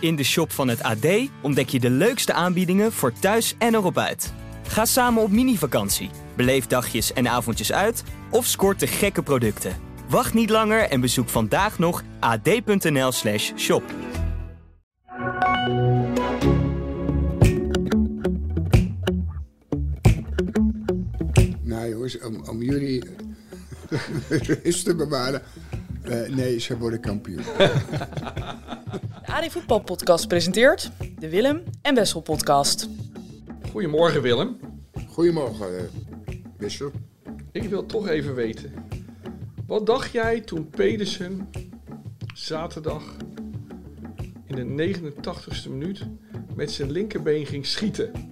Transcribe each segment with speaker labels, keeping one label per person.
Speaker 1: In de shop van het AD ontdek je de leukste aanbiedingen voor thuis en erop uit. Ga samen op mini-vakantie, beleef dagjes en avondjes uit of scoort de gekke producten. Wacht niet langer en bezoek vandaag nog ad.nl/slash shop.
Speaker 2: Nou jongens, om, om jullie rust te bewaren. eh, nee, ze worden kampioen.
Speaker 3: De AD Voetbal Podcast presenteert de Willem en Wessel Podcast.
Speaker 4: Goedemorgen Willem.
Speaker 2: Goedemorgen, eh, Wissel.
Speaker 4: Ik wil toch even weten. Wat dacht jij toen Pedersen zaterdag in de 89ste minuut met zijn linkerbeen ging schieten?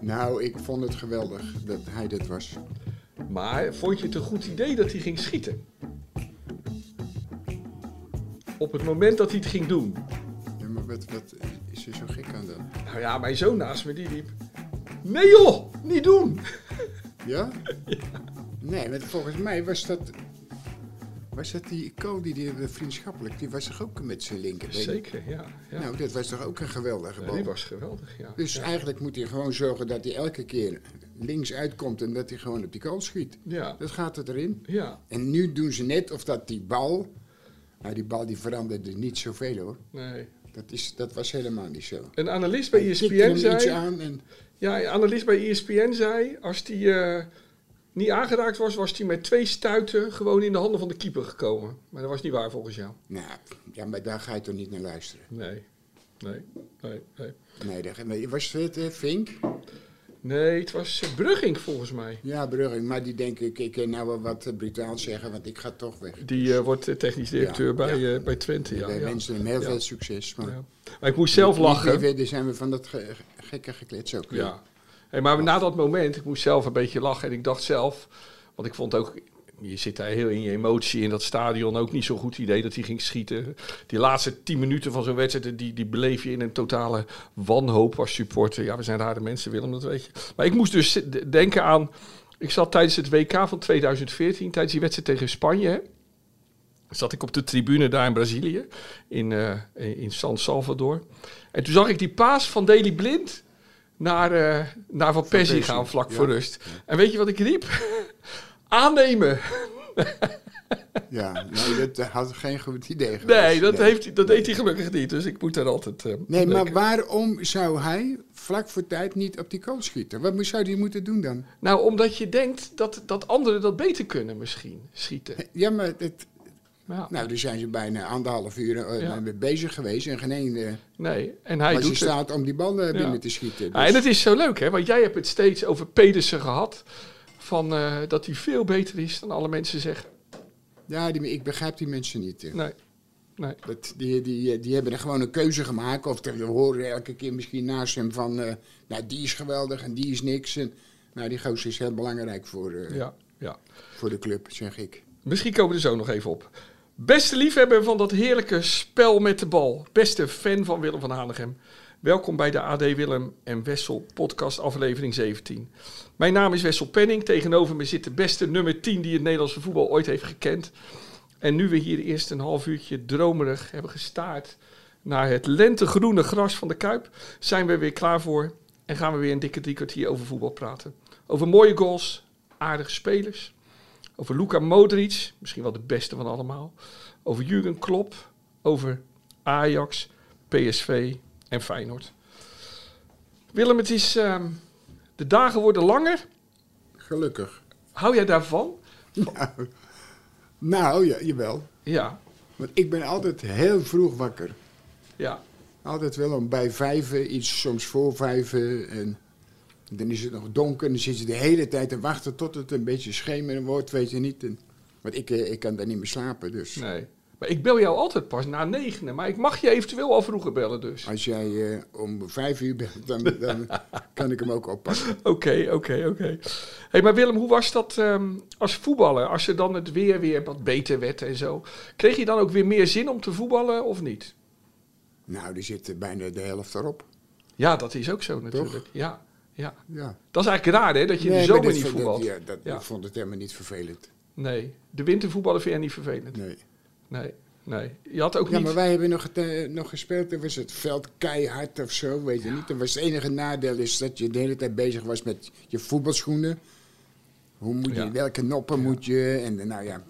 Speaker 2: Nou, ik vond het geweldig dat hij dit was.
Speaker 4: Maar vond je het een goed idee dat hij ging schieten? Op het moment dat hij het ging doen.
Speaker 2: Ja, maar wat, wat is er zo gek aan dan?
Speaker 4: Nou ja, mijn zoon naast me die riep. Nee joh, niet doen!
Speaker 2: Ja? Nee, want volgens mij was dat... Was dat die icoon die, die vriendschappelijk, die was toch ook met zijn linkerbeen?
Speaker 4: Zeker, ja. ja.
Speaker 2: Nou, dat was toch ook een geweldige
Speaker 4: Ja,
Speaker 2: bal?
Speaker 4: die was geweldig, ja.
Speaker 2: Dus eigenlijk moet hij gewoon zorgen dat hij elke keer links uitkomt en dat hij gewoon op die goal schiet.
Speaker 4: Ja,
Speaker 2: Dat gaat het erin.
Speaker 4: ja.
Speaker 2: En nu doen ze net of dat die bal... Nou, die bal die veranderde niet zoveel hoor.
Speaker 4: Nee.
Speaker 2: Dat, is, dat was helemaal niet zo.
Speaker 4: Een analist bij E
Speaker 2: Tikte
Speaker 4: ESPN
Speaker 2: hem iets
Speaker 4: zei...
Speaker 2: aan en...
Speaker 4: Ja, een analist bij E ESPN zei, als die eh, niet aangeraakt was, was die met twee stuiten gewoon in de handen van de keeper gekomen. Maar dat was niet waar volgens jou.
Speaker 2: Nou, ja, maar daar ga je toch niet naar luisteren?
Speaker 4: Nee, nee, nee, nee.
Speaker 2: Nee, daar, maar was het eh, Vink?
Speaker 4: Nee, het was eh, Brugging volgens mij.
Speaker 2: Ja, Brugging, maar die denk ik, ik kan nou wel wat eh, brutaal zeggen, want ik ga toch weg.
Speaker 4: Die eh, wordt eh, technisch directeur
Speaker 2: Ja,
Speaker 4: bij,
Speaker 2: ja.
Speaker 4: eh, bij Twente, ja.
Speaker 2: Wij
Speaker 4: ja.
Speaker 2: wensen hem heel
Speaker 4: Ja.
Speaker 2: veel succes. Maar
Speaker 4: Ja. Maar ik moest zelf
Speaker 2: Niet
Speaker 4: lachen.
Speaker 2: Even, daar zijn we van dat ge- ge- gekke geklets ook. weer.
Speaker 4: Ja. Hey, maar na dat moment, ik moest zelf een beetje lachen. En ik dacht zelf, want ik vond ook, je zit daar heel in je emotie in dat stadion. Ook niet zo'n goed idee dat hij ging schieten. Die laatste tien minuten van zo'n wedstrijd, die, die beleef je in een totale wanhoop als supporter. Ja, we zijn rare mensen, Willem, dat weet je. Maar ik moest dus zi- d- denken aan, ik zat tijdens het WK van 2014, tijdens die wedstrijd tegen Spanje... hè, Zat ik op de tribune daar in Brazilië, in, eh, in San Salvador. En toen zag ik die paas van Deli Blind naar, eh, naar Van Persie
Speaker 2: Persie,
Speaker 4: gaan vlak
Speaker 2: ja.
Speaker 4: voor rust. En weet je wat ik riep? Aannemen.
Speaker 2: Ja, nee, dat eh, had geen goed idee geweest.
Speaker 4: Nee, dat, heeft, hij- dat deed hij gelukkig niet. Dus ik moet daar altijd. eh,
Speaker 2: Nee, maar
Speaker 4: denken.
Speaker 2: waarom zou hij vlak voor tijd niet op die kool schieten? Wat moest- zou hij moeten doen dan?
Speaker 4: Nou, omdat je denkt dat, dat anderen dat beter kunnen, misschien schieten.
Speaker 2: Ja, maar het,
Speaker 4: Ja.
Speaker 2: nou, daar zijn ze bijna anderhalf uur eh,
Speaker 4: Ja.
Speaker 2: mee bezig geweest en geen één eh,
Speaker 4: Nee, en hij
Speaker 2: was in
Speaker 4: doet het.
Speaker 2: staat om die bal eh, binnen
Speaker 4: Ja.
Speaker 2: te schieten.
Speaker 4: Ja, en het is zo leuk, hè? Want jij hebt het steeds over Pedersen gehad. Van eh, dat hij veel beter is dan alle mensen zeggen.
Speaker 2: Ja, die, ik begrijp die mensen niet. eh.
Speaker 4: Nee, nee.
Speaker 2: Dat, die, die, die hebben er gewoon een keuze gemaakt. Of te- we horen elke keer misschien naast hem van... eh, nou, die is geweldig en die is niks. En, nou, die gozer is heel belangrijk voor, eh,
Speaker 4: Ja, ja.
Speaker 2: voor de club, zeg ik.
Speaker 4: Misschien komen we er zo nog even op. Beste liefhebber van dat heerlijke spel met de bal. Beste fan van Willem van Hanegem. Welkom bij de AD Willem en Wessel podcast aflevering 17. Mijn naam is Wessel Penning. Tegenover me zit de beste nummer 10 die het Nederlandse voetbal ooit heeft gekend. En nu we hier eerst een half uurtje dromerig hebben gestaard naar het lentegroene gras van de Kuip, zijn we weer klaar voor en gaan we weer een dikke drie kwartier over voetbal praten. Over mooie goals, aardige spelers, over Luka Modric, misschien wel de beste van allemaal, over Jurgen Klopp, over Ajax, PSV en Feyenoord. Willem, het is, ehm, de dagen worden langer.
Speaker 2: Gelukkig.
Speaker 4: Hou jij daarvan?
Speaker 2: Nou, nou ja, jawel.
Speaker 4: Ja,
Speaker 2: Want ik ben altijd heel vroeg wakker.
Speaker 4: ja.
Speaker 2: Altijd wel om bij vijven, iets soms voor vijven. En dan is het nog donker en dan zit je de hele tijd te wachten tot het een beetje schemeren wordt, weet je niet. En, want ik, eh, ik kan daar niet meer slapen, dus...
Speaker 4: Nee. Maar ik bel jou altijd pas na negenen. Maar ik mag je eventueel al vroeger bellen dus.
Speaker 2: Als jij eh, om vijf uur bent, dan, dan kan ik hem ook oppakken.
Speaker 4: Oké, oké, oké. Hé, maar Willem, hoe was dat ehm, als voetballer? Als er dan het weer weer wat beter werd en zo. Kreeg je dan ook weer meer zin om te voetballen of niet?
Speaker 2: Nou, die zit eh, bijna de helft erop.
Speaker 4: Ja, dat is ook zo natuurlijk. Ja, ja.
Speaker 2: Ja.
Speaker 4: Dat is eigenlijk raar hè, dat je in de
Speaker 2: Nee, maar
Speaker 4: zomer
Speaker 2: dat
Speaker 4: niet
Speaker 2: vond- dat-
Speaker 4: voetbalt.
Speaker 2: ja, dat-
Speaker 4: Ja.
Speaker 2: Ik vond het helemaal niet vervelend.
Speaker 4: Nee, de wintervoetballen vind jij niet vervelend?
Speaker 2: Nee.
Speaker 4: Nee. Nee, je had ook
Speaker 2: Ja,
Speaker 4: niet...
Speaker 2: maar wij hebben nog, het, eh, nog gespeeld. Toen was het veld keihard of zo, weet je niet. Dat was het enige nadeel is dat je de hele tijd bezig was met je voetbalschoenen. Hoe moet je,
Speaker 4: Ja.
Speaker 2: welke noppen moet je? En eh, nou ja,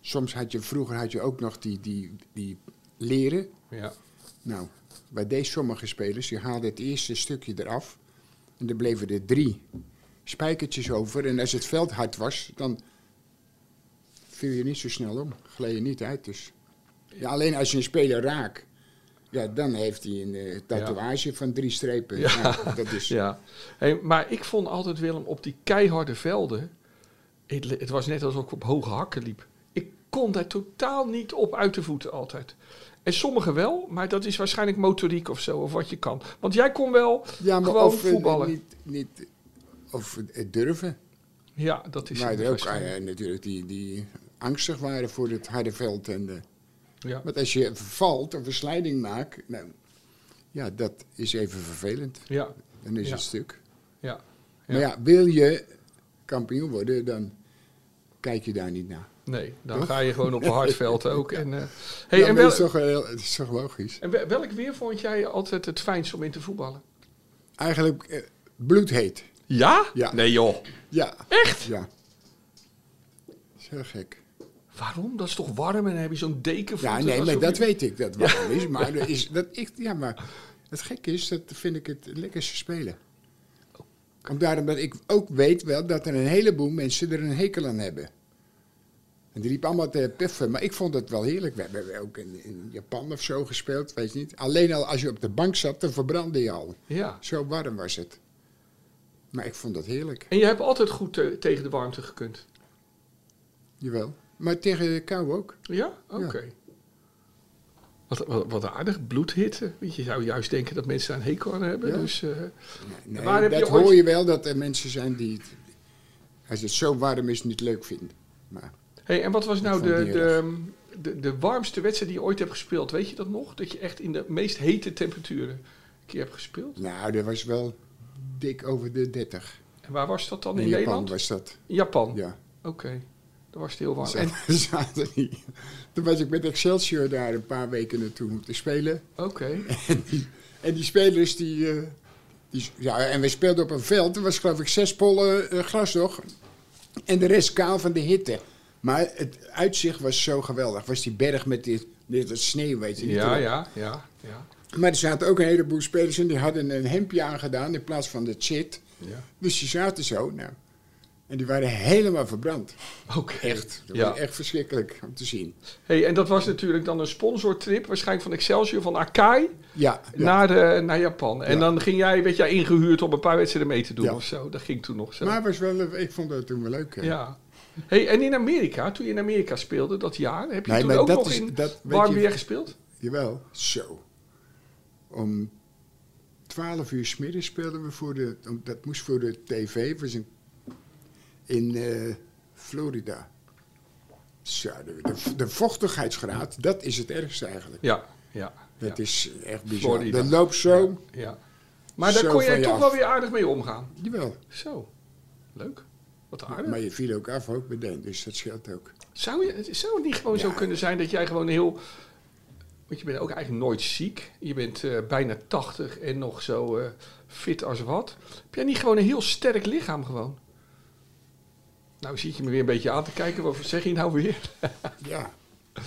Speaker 2: soms had je, vroeger had je ook nog die, die, die leren.
Speaker 4: Ja,
Speaker 2: Nou, bij deze sommige spelers, die haalden het eerste stukje eraf. En er bleven er drie spijkertjes over. En als het veld hard was, dan viel je niet zo snel om. Gleed je niet uit dus. Ja, alleen als je een speler raakt, ja, dan heeft hij een eh, tatoeage van drie strepen.
Speaker 4: Ja.
Speaker 2: Nou, dat is,
Speaker 4: ja. Hey, maar ik vond altijd Willem op die keiharde velden... Het, le- het was net alsof ik op hoge hakken liep. Ik kon daar totaal niet op uit de voeten altijd. En sommigen wel, maar dat is waarschijnlijk motoriek of zo, of wat je kan. Want jij kon wel
Speaker 2: Ja, maar
Speaker 4: gewoon
Speaker 2: of eh,
Speaker 4: voetballen.
Speaker 2: Niet, niet, of het durven.
Speaker 4: ja, dat is
Speaker 2: Maar
Speaker 4: het
Speaker 2: er ook
Speaker 4: waarschijnlijk.
Speaker 2: eh, natuurlijk die, die angstig waren voor het harde veld. En, eh,
Speaker 4: ja.
Speaker 2: Want als je valt of een slijding maakt, nou, ja, dat is even vervelend.
Speaker 4: Ja,
Speaker 2: Dan is
Speaker 4: Ja.
Speaker 2: het stuk.
Speaker 4: ja,
Speaker 2: Maar ja, wil je kampioen worden, dan kijk je daar niet naar.
Speaker 4: nee. Dan ga je gewoon op een hard veld ook. En, eh, hey,
Speaker 2: Ja,
Speaker 4: en,
Speaker 2: maar
Speaker 4: wel,
Speaker 2: dat is toch, heel- dat is toch logisch?
Speaker 4: en wel- welk weer vond jij altijd het fijnst om in te voetballen?
Speaker 2: Eigenlijk eh, bloedheet.
Speaker 4: Ja?
Speaker 2: Ja.
Speaker 4: Nee joh.
Speaker 2: Ja,
Speaker 4: Echt?
Speaker 2: ja. Dat is heel gek.
Speaker 4: Waarom? Dat is toch warm en dan heb je zo'n deken voor.
Speaker 2: Ja, nee, maar dat weet ik dat wel is. Maar, dat is, dat ik, ja, maar het gekke is, dat vind ik het lekkerste spelen. Om daarom dat ik ook weet wel dat er een heleboel mensen er een hekel aan hebben. En die liepen allemaal te puffen, maar ik vond het wel heerlijk. We hebben ook in, in Japan of zo gespeeld, weet je niet. Alleen al als je op de bank zat, dan verbrandde je al.
Speaker 4: Ja.
Speaker 2: Zo warm was het. Maar ik vond dat heerlijk,
Speaker 4: En je hebt altijd goed eh, tegen de warmte gekund.
Speaker 2: jawel. Maar tegen de kou ook.
Speaker 4: Ja? Oké. Wat, wat, wat aardig, bloedhitte. Weet je, je zou juist denken dat mensen daar een hekel aan hebben.
Speaker 2: Ja.
Speaker 4: Dus, eh,
Speaker 2: Nee,
Speaker 4: Waar heb je
Speaker 2: dat
Speaker 4: ooit-
Speaker 2: hoor je wel dat er mensen zijn die het, als het zo warm is, niet leuk vinden. Maar
Speaker 4: hey, en wat was nou
Speaker 2: vond
Speaker 4: de,
Speaker 2: die
Speaker 4: de, de, de warmste wedstrijd die je ooit hebt gespeeld? Weet je dat nog? Dat je echt in de meest hete temperaturen een keer hebt gespeeld?
Speaker 2: nou, dat was wel dik over de 30.
Speaker 4: En waar was dat dan? In,
Speaker 2: In Japan
Speaker 4: Nederland? Oh,
Speaker 2: was dat.
Speaker 4: In Japan?
Speaker 2: Ja.
Speaker 4: Oké. Daar was het heel warm. En,
Speaker 2: Zat- zaten die- Toen was ik met Excelsior daar een paar weken naartoe moeten spelen.
Speaker 4: Oké.
Speaker 2: En die, en die spelers die, eh, die- Ja, en we speelden op een veld. Er was geloof ik zes pollen eh, gras nog. En de rest kaal van de hitte. Maar het uitzicht was zo geweldig. Was die berg met dit, dit dat sneeuw, weet je niet.
Speaker 4: Ja, ja, ja, ja.
Speaker 2: Maar er zaten ook een heleboel spelers en die hadden een hemdje aangedaan in plaats van de shit.
Speaker 4: ja.
Speaker 2: Dus die zaten zo, nou. En die waren helemaal verbrand.
Speaker 4: Oké.
Speaker 2: Echt. Dat
Speaker 4: Ja.
Speaker 2: was echt verschrikkelijk om te zien.
Speaker 4: Hey, en dat was natuurlijk dan een sponsortrip, waarschijnlijk van Excelsior, van Akai,
Speaker 2: Ja. ja.
Speaker 4: naar, de, naar Japan. En
Speaker 2: Ja.
Speaker 4: dan ging jij, werd jij ingehuurd om een paar wedstrijden mee te doen
Speaker 2: Ja.
Speaker 4: of zo. Dat ging toen nog zo.
Speaker 2: maar het was wel, ik vond dat toen wel leuk. hè.
Speaker 4: ja. Hey, en in Amerika, toen je in Amerika speelde dat jaar, heb je
Speaker 2: Nee,
Speaker 4: toen
Speaker 2: maar
Speaker 4: ook
Speaker 2: dat
Speaker 4: nog
Speaker 2: is-
Speaker 4: in
Speaker 2: dat- weet
Speaker 4: warm
Speaker 2: je-
Speaker 4: weer gespeeld?
Speaker 2: Jawel. Zo. Om 12 uur 's middags speelden we voor de. om- Dat moest voor de tv. Was een, in eh, Florida. Zo, de, de, de vochtigheidsgraad, dat is het ergste eigenlijk.
Speaker 4: Ja, ja.
Speaker 2: Dat
Speaker 4: ja,
Speaker 2: is echt bizar.
Speaker 4: Florida.
Speaker 2: Dat loopt zo.
Speaker 4: ja. Maar daar
Speaker 2: Zo
Speaker 4: kon jij
Speaker 2: van je
Speaker 4: toch
Speaker 2: af.
Speaker 4: wel weer aardig mee omgaan.
Speaker 2: Jawel.
Speaker 4: Zo, leuk. Wat aardig.
Speaker 2: Maar je viel ook af ook meteen, dus dat scheelt ook.
Speaker 4: Zou, je, zou het niet gewoon zo
Speaker 2: Ja.
Speaker 4: kunnen zijn dat jij gewoon heel. Want je bent ook eigenlijk nooit ziek. Je bent eh, bijna 80 en nog zo eh, fit als wat. Heb jij niet gewoon een heel sterk lichaam gewoon? Nou, zit je me weer een beetje aan te kijken. Wat zeg je nou weer?
Speaker 2: Ja.
Speaker 4: Ik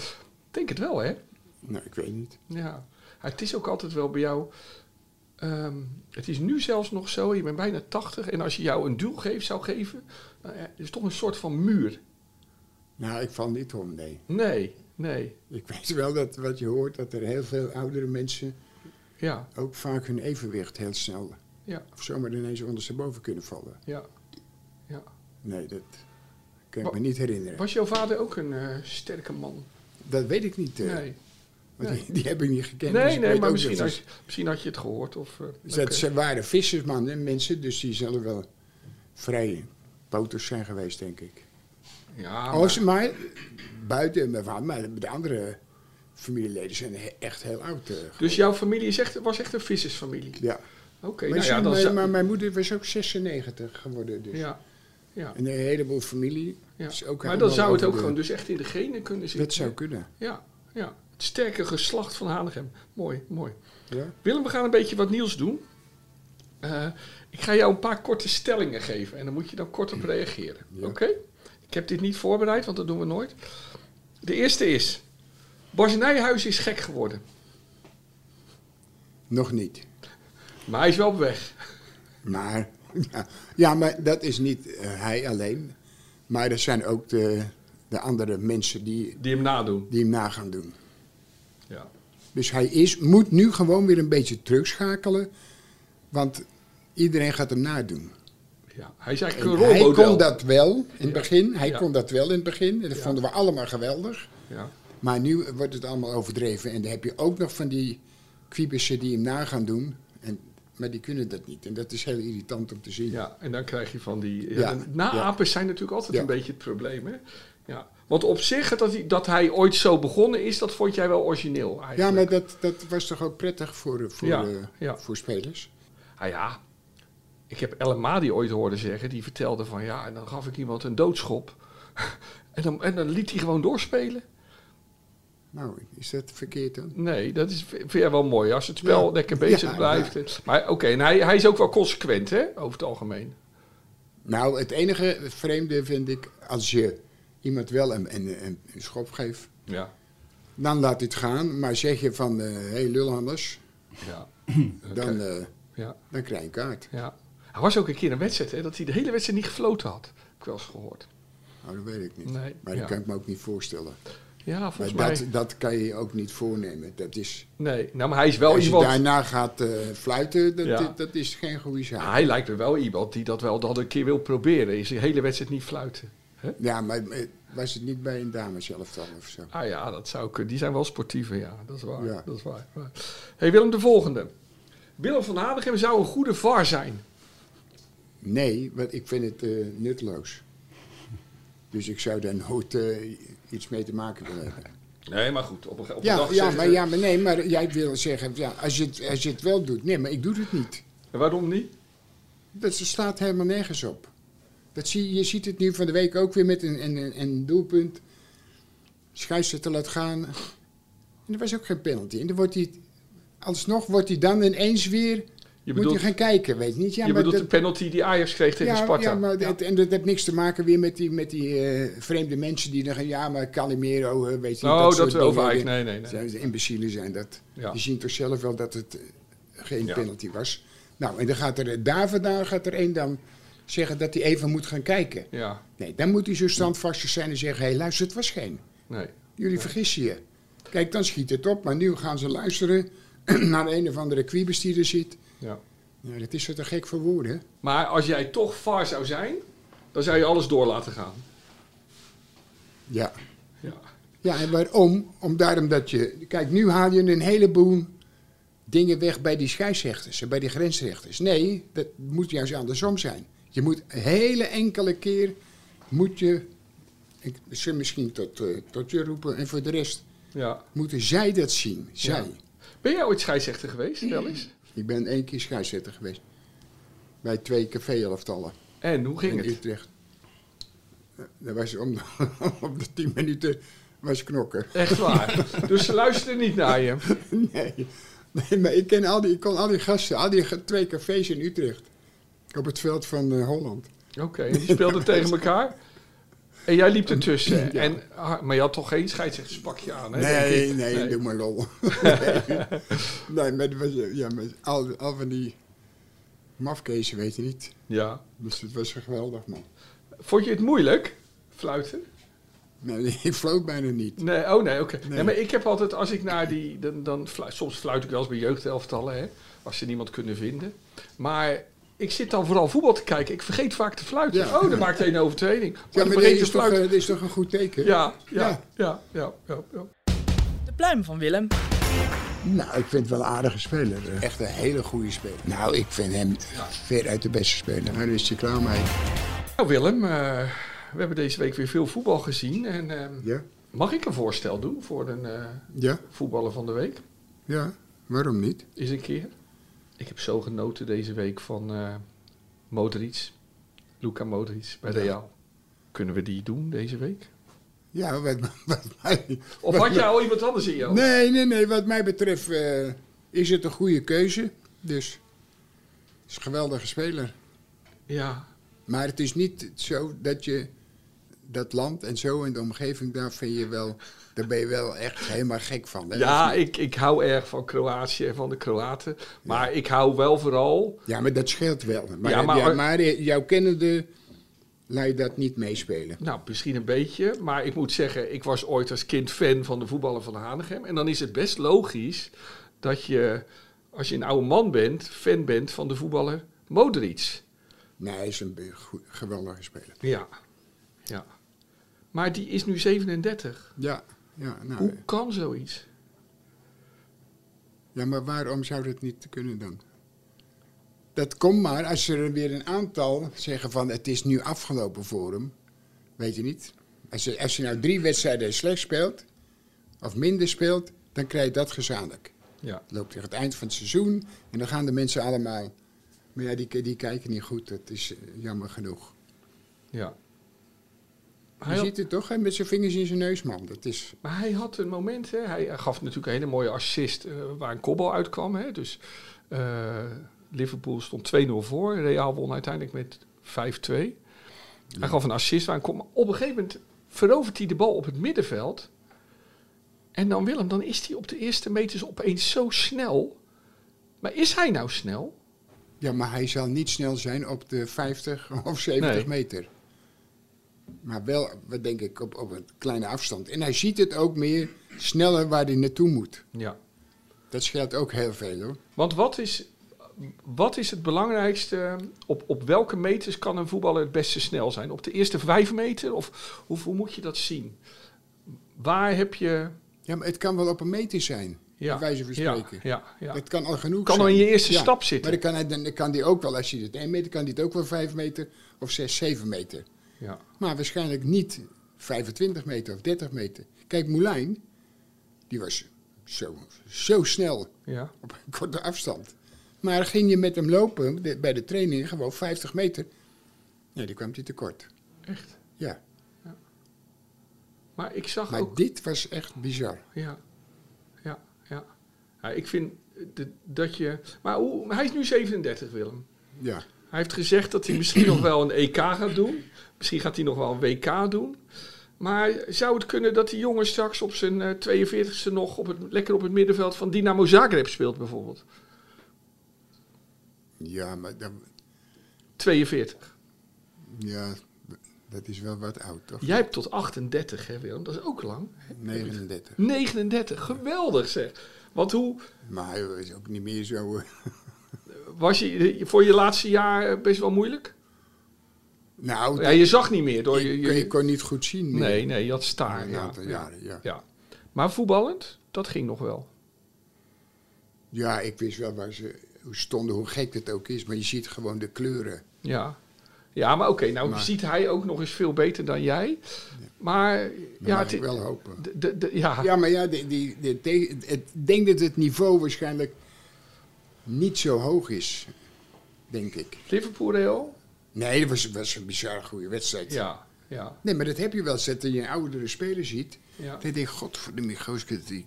Speaker 4: Denk het wel, hè?
Speaker 2: Nou, ik weet niet.
Speaker 4: Ja. Maar Het is ook altijd wel bij jou. ehm, het is nu zelfs nog zo, je bent bijna 80 en als je jou een duw geeft, zou geven, nou ja, is toch een soort van muur.
Speaker 2: Nou, ik val niet om, nee.
Speaker 4: Nee, nee,
Speaker 2: Ik weet wel dat wat je hoort, dat er heel veel oudere mensen
Speaker 4: ja,
Speaker 2: ook vaak hun evenwicht heel snel
Speaker 4: ja,
Speaker 2: of zomaar ineens ondersteboven kunnen vallen.
Speaker 4: ja, ja.
Speaker 2: Nee, dat kan ik
Speaker 4: Wa-
Speaker 2: me niet herinneren.
Speaker 4: Was jouw vader ook een eh, sterke man?
Speaker 2: Dat weet ik niet. eh,
Speaker 4: Nee,
Speaker 2: want
Speaker 4: nee.
Speaker 2: Die, die heb ik niet gekend. dus
Speaker 4: nee,
Speaker 2: ik
Speaker 4: nee
Speaker 2: weet
Speaker 4: maar
Speaker 2: ook
Speaker 4: misschien
Speaker 2: dat
Speaker 4: had, je, misschien had je het gehoord. Of, eh,
Speaker 2: ze- dat
Speaker 4: oké.
Speaker 2: Ze waren vissersmannen, mensen, dus die zullen wel vrij poters zijn geweest, denk ik.
Speaker 4: Ja,
Speaker 2: Oh, ze
Speaker 4: maar,
Speaker 2: maar buiten mijn vader, maar de andere familieleden zijn he- echt heel oud. eh,
Speaker 4: dus jouw familie is echt, was echt een vissersfamilie?
Speaker 2: ja.
Speaker 4: Oké,
Speaker 2: Maar,
Speaker 4: nou
Speaker 2: zie
Speaker 4: ja,
Speaker 2: je,
Speaker 4: dan
Speaker 2: mijn,
Speaker 4: zou-
Speaker 2: maar mijn moeder was ook 96 geworden. Dus.
Speaker 4: Ja, ja,
Speaker 2: En een heleboel familie.
Speaker 4: ja.
Speaker 2: is ook
Speaker 4: maar dan
Speaker 2: helemaal
Speaker 4: zou het
Speaker 2: over
Speaker 4: ook
Speaker 2: de-
Speaker 4: gewoon dus echt in de genen kunnen zitten.
Speaker 2: Dat zou kunnen.
Speaker 4: Ja, Ja, het sterke geslacht van Hanegem. Mooi, mooi.
Speaker 2: Ja?
Speaker 4: Willem, we gaan een beetje wat nieuws doen. Eh, ik ga jou een paar korte stellingen geven en dan moet je dan kort op reageren.
Speaker 2: Ja.
Speaker 4: Oké? Ik heb dit niet voorbereid, want dat doen we nooit. De eerste is: Bas Nijhuis is gek geworden,
Speaker 2: Nog niet.
Speaker 4: maar hij is wel op weg.
Speaker 2: Maar, ja, ja, maar dat is niet eh, hij alleen. Maar er zijn ook de, de andere mensen die,
Speaker 4: Die hem nadoen.
Speaker 2: die hem na gaan doen.
Speaker 4: Ja.
Speaker 2: Dus hij is, moet nu gewoon weer een beetje terugschakelen. Want iedereen gaat hem nadoen.
Speaker 4: ja. Hij is eigenlijk
Speaker 2: En
Speaker 4: een
Speaker 2: hij
Speaker 4: rolmodel.
Speaker 2: kon dat wel in het
Speaker 4: Ja.
Speaker 2: begin. Hij
Speaker 4: Ja.
Speaker 2: kon dat wel in het begin. En dat
Speaker 4: Ja.
Speaker 2: vonden we allemaal geweldig.
Speaker 4: Ja.
Speaker 2: Maar nu wordt het allemaal overdreven. En dan heb je ook nog van die kwiebussen die hem na gaan doen. En, maar die kunnen dat niet. En dat is heel irritant om te zien.
Speaker 4: Ja, en dan krijg je van die... Ja,
Speaker 2: Ja,
Speaker 4: de Naapers zijn natuurlijk altijd
Speaker 2: Ja.
Speaker 4: een beetje het probleem, hè? Ja. Want op zich, dat hij, dat hij ooit zo begonnen is, dat vond jij wel origineel eigenlijk.
Speaker 2: Ja, maar dat, dat was toch ook prettig voor, eh, voor,
Speaker 4: Ja,
Speaker 2: eh,
Speaker 4: ja.
Speaker 2: voor spelers?
Speaker 4: Ah ja, ik heb El Amadi ooit horen zeggen, die vertelde van... Ja, en dan gaf ik iemand een doodschop. en, dan, en dan liet hij gewoon doorspelen.
Speaker 2: Nou, is dat verkeerd dan?
Speaker 4: Nee, dat is, vind jij wel mooi. Als het spel
Speaker 2: Ja.
Speaker 4: lekker bezig
Speaker 2: Ja,
Speaker 4: blijft. Maar oké, en hij, hij is ook wel consequent, hè? Over het algemeen.
Speaker 2: Nou, het enige vreemde vind ik, als je iemand wel een, een, een, een schop geeft,
Speaker 4: Ja,
Speaker 2: dan laat het gaan. Maar zeg je van, eh hey lulhanders,
Speaker 4: ja.
Speaker 2: dan, eh,
Speaker 4: ja.
Speaker 2: dan krijg je een kaart.
Speaker 4: Ja. Hij was ook een keer een wedstrijd, hè, dat hij de hele wedstrijd niet gefloten had. Heb ik wel eens gehoord.
Speaker 2: Nou, dat weet ik niet.
Speaker 4: Nee,
Speaker 2: maar
Speaker 4: ja.
Speaker 2: dat kan ik me ook niet voorstellen.
Speaker 4: Ja,
Speaker 2: Maar
Speaker 4: volgens mij.
Speaker 2: dat, dat kan je je ook niet voornemen. Dat is,
Speaker 4: Nee, nou, maar hij is wel
Speaker 2: als je
Speaker 4: iemand.
Speaker 2: daarna gaat eh, fluiten, dat,
Speaker 4: Ja.
Speaker 2: dat is geen goede zaak.
Speaker 4: Hij lijkt me wel iemand die dat wel dan een keer wil proberen. Is de hele wedstrijd niet fluiten. Hè?
Speaker 2: Ja, maar eh, was het niet bij een dameselftal of zo?
Speaker 4: Ah ja, dat zou kunnen. Die zijn wel sportiever, ja. Dat is waar.
Speaker 2: Ja.
Speaker 4: Dat is waar. Maar- Hey, Willem, de volgende. Willem van Hanegem zou een goede VAR zijn.
Speaker 2: Nee, want ik vind het eh, nutteloos. Dus ik zou daar nooit eh, iets mee te maken willen hebben.
Speaker 4: Nee, maar goed. Op een, op
Speaker 2: Ja, ja, maar, ja, maar nee, maar jij wil zeggen, ja, als, je het, als je het wel doet. Nee, maar ik doe het niet.
Speaker 4: Waarom niet?
Speaker 2: Dat staat helemaal nergens op. Dat zie, je ziet het nu van de week ook weer met een, een, een, een doelpunt. Scheidsrechter te laten gaan. En er was ook geen penalty. En dan wordt hij, alsnog wordt hij dan ineens weer, moet
Speaker 4: bedoelt-
Speaker 2: hij gaan kijken, weet je niet? Ja,
Speaker 4: je
Speaker 2: maar
Speaker 4: bedoelt de penalty die Ajax kreeg tegen
Speaker 2: ja,
Speaker 4: Sparta.
Speaker 2: ja, maar dat, en dat heeft niks te maken weer met die, met die eh, vreemde mensen die dan gaan... Ja, maar Calimero, eh, weet je
Speaker 4: Oh,
Speaker 2: niet,
Speaker 4: dat
Speaker 2: soort
Speaker 4: over
Speaker 2: dingen.
Speaker 4: Ajax. Nee, nee, nee.
Speaker 2: Zijn, de imbecielen zijn dat.
Speaker 4: Ja.
Speaker 2: Die zien toch zelf wel dat het eh, geen
Speaker 4: Ja.
Speaker 2: penalty was. Nou, en dan gaat er eh, daar vandaan gaat er één dan zeggen dat hij even moet gaan kijken.
Speaker 4: Ja,
Speaker 2: Nee, dan moet hij zo standvastig zijn en zeggen... Hé, hey, luister, het was geen.
Speaker 4: nee.
Speaker 2: Jullie vergissen je. Kijk, dan schiet het op. Maar nu gaan ze luisteren naar een of andere kwiebes die er zit.
Speaker 4: Ja.
Speaker 2: Nou, dat is zo te gek voor woorden, hè?
Speaker 4: Maar als jij toch VAR zou zijn, dan zou je alles door laten gaan.
Speaker 2: Ja.
Speaker 4: Ja.
Speaker 2: Ja, en waarom? Om daarom dat je... Kijk, nu haal je een heleboel dingen weg bij die scheidsrechters en bij die grensrechters. Nee, dat moet juist andersom zijn. Je moet een hele enkele keer... moet je... Ik, ze misschien tot, eh, tot je roepen. En voor de rest
Speaker 4: ja.
Speaker 2: moeten zij dat zien. Zij.
Speaker 4: Ja. Ben jij ooit scheidsrechter geweest, wel eens?
Speaker 2: Ik ben één keer scheidsrechter geweest. Bij twee café-elftallen.
Speaker 4: En hoe ging
Speaker 2: in
Speaker 4: het?
Speaker 2: Utrecht. Eh, Dat was om de, om de tien minuten was knokken.
Speaker 4: Echt waar. dus ze luisteren niet naar je.
Speaker 2: Nee. nee, maar ik, ken al die, ik kon al die gasten, al die ge- twee cafés in Utrecht. Op het veld van eh, Holland.
Speaker 4: Oké, die speelden tegen elkaar. En jij liep ertussen. En, ah, maar je had toch geen scheidsrechtspakje aan, hè? denk
Speaker 2: Nee,
Speaker 4: ik?
Speaker 2: nee, doe maar lol. nee, maar, dat was, eh, ja, maar al, al van die mafkezen weet je niet.
Speaker 4: Ja.
Speaker 2: Dus het was geweldig, man.
Speaker 4: Vond je het moeilijk, fluiten?
Speaker 2: Nee, ik floot bijna niet.
Speaker 4: Nee, oh nee, oké. Nee.
Speaker 2: Nee.
Speaker 4: maar ik heb altijd, als ik naar die, dan, dan fluit, soms fluit ik wel eens bij jeugdelftallen, hè, als ze niemand kunnen vinden. Maar ik zit dan vooral voetbal te kijken. Ik vergeet vaak te fluiten.
Speaker 2: Ja.
Speaker 4: Oh, dan maakt één overtreding. Oh,
Speaker 2: Ja,
Speaker 4: dan
Speaker 2: maar
Speaker 4: begint
Speaker 2: dit
Speaker 4: te
Speaker 2: is, toch,
Speaker 4: fluiten.
Speaker 2: eh, dit is toch een goed teken?
Speaker 4: Ja, ja, ja,
Speaker 2: Ja.
Speaker 4: ja, ja, ja.
Speaker 3: De pluim van Willem.
Speaker 2: Nou, ik vind het wel een aardige speler. Echt een hele goede speler. Nou, ik vind hem veruit de beste speler. Nou, daar is hij klaar mee.
Speaker 4: Nou Willem, eh, we hebben deze week weer veel voetbal gezien. En, ehm,
Speaker 2: Ja?
Speaker 4: Mag ik een voorstel doen voor een eh,
Speaker 2: Ja?
Speaker 4: voetballer van de week?
Speaker 2: Ja? Waarom niet?
Speaker 4: Is een keer. Ik heb zo genoten deze week van eh Modric. Luca Modric bij Real. Kunnen we die doen deze week?
Speaker 2: Ja, wat, wat mij...
Speaker 4: Of
Speaker 2: wat
Speaker 4: had
Speaker 2: mij-
Speaker 4: jij al iemand anders in jou?
Speaker 2: Nee, nee, nee. Wat mij betreft eh, is het een goede keuze. Dus het is een geweldige speler.
Speaker 4: Ja,
Speaker 2: Maar het is niet zo dat je dat land en zo en de omgeving, daar vind je wel, daar ben je wel echt helemaal gek van. Hè?
Speaker 4: ja
Speaker 2: Dat is niet-
Speaker 4: ik, ik hou erg van Kroatië en van de Kroaten. Maar ik hou wel vooral...
Speaker 2: ja, maar dat scheelt wel. Maar,
Speaker 4: Ja,
Speaker 2: ja,
Speaker 4: maar-
Speaker 2: maar, eh, jouw kennende laat je dat niet meespelen.
Speaker 4: Nou, misschien een beetje. Maar ik moet zeggen, ik was ooit als kind fan van de voetballer van Hanegem. En dan is het best logisch dat je, als je een oude man bent, fan bent van de voetballer Modric.
Speaker 2: Nee, hij is een be- goe- geweldige speler.
Speaker 4: Ja, ja. Maar die is nu 37.
Speaker 2: Ja, ja, nou,
Speaker 4: Hoe kan zoiets?
Speaker 2: ja, maar waarom zou dat niet kunnen dan? Dat komt maar als er weer een aantal zeggen van het is nu afgelopen voor hem. Weet je niet? Als je, als je nou drie wedstrijden slecht speelt, of minder speelt, dan krijg je dat gezamenlijk.
Speaker 4: Ja.
Speaker 2: Het loopt tegen het eind van het seizoen en dan gaan de mensen allemaal. Maar ja, die, die kijken niet goed, dat is eh, jammer genoeg.
Speaker 4: Ja.
Speaker 2: Je
Speaker 4: Hij had,
Speaker 2: ziet het toch, hè, met zijn vingers in zijn neus, man. Dat is,
Speaker 4: maar hij had een moment, hè. hij eh, gaf natuurlijk een hele mooie assist eh, waar een kopbal uitkwam. Hè. Dus eh, Liverpool stond 2-0 voor, Real won uiteindelijk met 5-2. Hij gaf een assist waar een kom. Op een gegeven moment verovert hij de bal op het middenveld. En dan Willem, dan is hij op de eerste meters opeens zo snel. Maar is hij nou snel?
Speaker 2: ja, maar hij zal niet snel zijn op de 50 of 70
Speaker 4: Nee.
Speaker 2: meter. Maar wel, wat denk ik, op, op een kleine afstand. En hij ziet het ook meer sneller waar hij naartoe moet.
Speaker 4: Ja.
Speaker 2: Dat scheelt ook heel veel, hoor.
Speaker 4: Want wat is, wat is het belangrijkste? Op, op welke meters kan een voetballer het beste snel zijn? Op de eerste vijf meter? Of hoe, hoe moet je dat zien? Waar heb je.
Speaker 2: Ja, maar het kan wel op een meter zijn, bij wijze van spreken.
Speaker 4: Ja, ja, ja.
Speaker 2: Dat kan al genoeg
Speaker 4: Kan
Speaker 2: zijn.
Speaker 4: al in je eerste
Speaker 2: Ja,
Speaker 4: stap zitten.
Speaker 2: Maar dan kan, hij, dan kan die ook wel, als hij het 1 meter, kan die het ook wel 5 meter of 6, 7 meter.
Speaker 4: ja.
Speaker 2: Maar waarschijnlijk niet 25 meter of 30 meter. Kijk, Moulijn, die was zo, zo snel
Speaker 4: ja.
Speaker 2: op een korte afstand. Maar ging je met hem lopen de- bij de training, gewoon 50 meter. Nee, die kwam hij tekort.
Speaker 4: Echt.
Speaker 2: Ja,
Speaker 4: Maar ik zag
Speaker 2: maar
Speaker 4: ook.
Speaker 2: dit was echt bizar.
Speaker 4: Ja, ja, ja. ja ik vind de- dat je. Maar hoe, hij is nu 37, Willem.
Speaker 2: Ja,
Speaker 4: Hij heeft gezegd dat hij misschien nog wel een EK gaat doen. Misschien gaat hij nog wel een WK doen. Maar zou het kunnen dat die jongen straks op zijn eh, 42e nog op het, lekker op het middenveld van Dynamo Zagreb speelt bijvoorbeeld?
Speaker 2: ja maar dan,
Speaker 4: 42.
Speaker 2: ja, dat is wel wat oud, toch?
Speaker 4: Jij hebt tot 38, hè Willem? Dat is ook lang.
Speaker 2: 39.
Speaker 4: 39, geweldig zeg. Want hoe
Speaker 2: Maar hij is ook niet meer zo... eh,
Speaker 4: was je voor je laatste jaar eh, best wel moeilijk?
Speaker 2: Nou,
Speaker 4: Ja, je zag niet meer door je.
Speaker 2: ik, ik
Speaker 4: je
Speaker 2: kon niet goed zien. meer.
Speaker 4: nee, nee, je had
Speaker 2: Na
Speaker 4: staar.
Speaker 2: een
Speaker 4: Ja,
Speaker 2: aantal
Speaker 4: ja,
Speaker 2: jaren, ja.
Speaker 4: ja. Maar voetballend, dat ging nog wel.
Speaker 2: Ja, ik wist wel waar ze hoe stonden, hoe gek het ook is. Maar je ziet gewoon de kleuren.
Speaker 4: Ja, ja maar oké, nou
Speaker 2: Maar-
Speaker 4: ziet hij ook nog eens veel beter dan jij. Maar
Speaker 2: Dat
Speaker 4: ja,
Speaker 2: mag
Speaker 4: het,
Speaker 2: ik wel hopen.
Speaker 4: de- de- de- ja,
Speaker 2: Ja, maar ja, die, die, die, te- het- ik denk dat het niveau waarschijnlijk niet zo hoog is, denk ik.
Speaker 4: Liverpool Real.
Speaker 2: Nee, dat was, was een bizar goede wedstrijd.
Speaker 4: Ja, ja,
Speaker 2: Nee, maar dat heb je wel eens, dat je oudere speler ziet.
Speaker 4: ja,
Speaker 2: Dan denk ik, god, voor de gozer, die...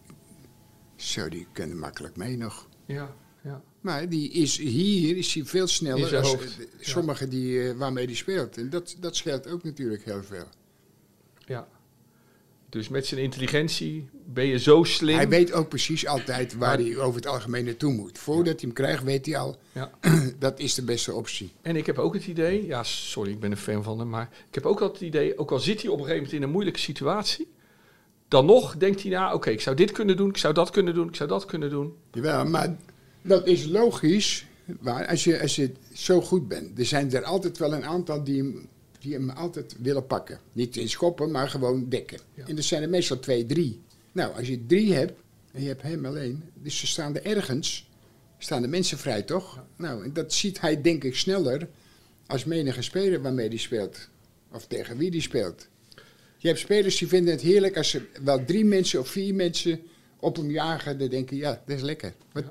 Speaker 2: Zo, die kunnen makkelijk mee nog.
Speaker 4: ja, ja.
Speaker 2: Maar die is hier is hij veel
Speaker 4: In
Speaker 2: sneller
Speaker 4: zijn
Speaker 2: dan
Speaker 4: hoofd, ja.
Speaker 2: sommigen die, eh, waarmee hij speelt. En dat, dat scheelt ook natuurlijk heel veel.
Speaker 4: ja. Dus met zijn intelligentie ben je zo slim.
Speaker 2: Hij weet ook precies altijd waar
Speaker 4: Maar-
Speaker 2: hij over het algemeen naartoe moet. Voordat hij hem krijgt, weet hij al,
Speaker 4: Ja.
Speaker 2: dat is de beste optie.
Speaker 4: En ik heb ook het idee, ja, sorry, ik ben een fan van hem, maar ik heb ook altijd het idee, ook al zit hij op een gegeven moment in een moeilijke situatie, dan nog denkt hij na, oké, ik zou dit kunnen doen, ik zou dat kunnen doen, ik zou dat kunnen doen.
Speaker 2: Jawel, maar dat is logisch. Maar als je, als je zo goed bent, er zijn er altijd wel een aantal die hem, die hem altijd willen pakken. Niet in schoppen, maar gewoon dekken.
Speaker 4: Ja.
Speaker 2: En dat zijn er meestal twee, drie. Nou, als je drie hebt en je hebt hem alleen, dus ze staan er ergens, staan de mensen vrij, toch? Nou, en dat ziet hij denk ik sneller als menige speler waarmee hij speelt. Of tegen wie die speelt. Je hebt spelers die vinden het heerlijk als ze wel drie mensen of vier mensen op hem jagen. Dan denken, ja, dat is lekker. Wat?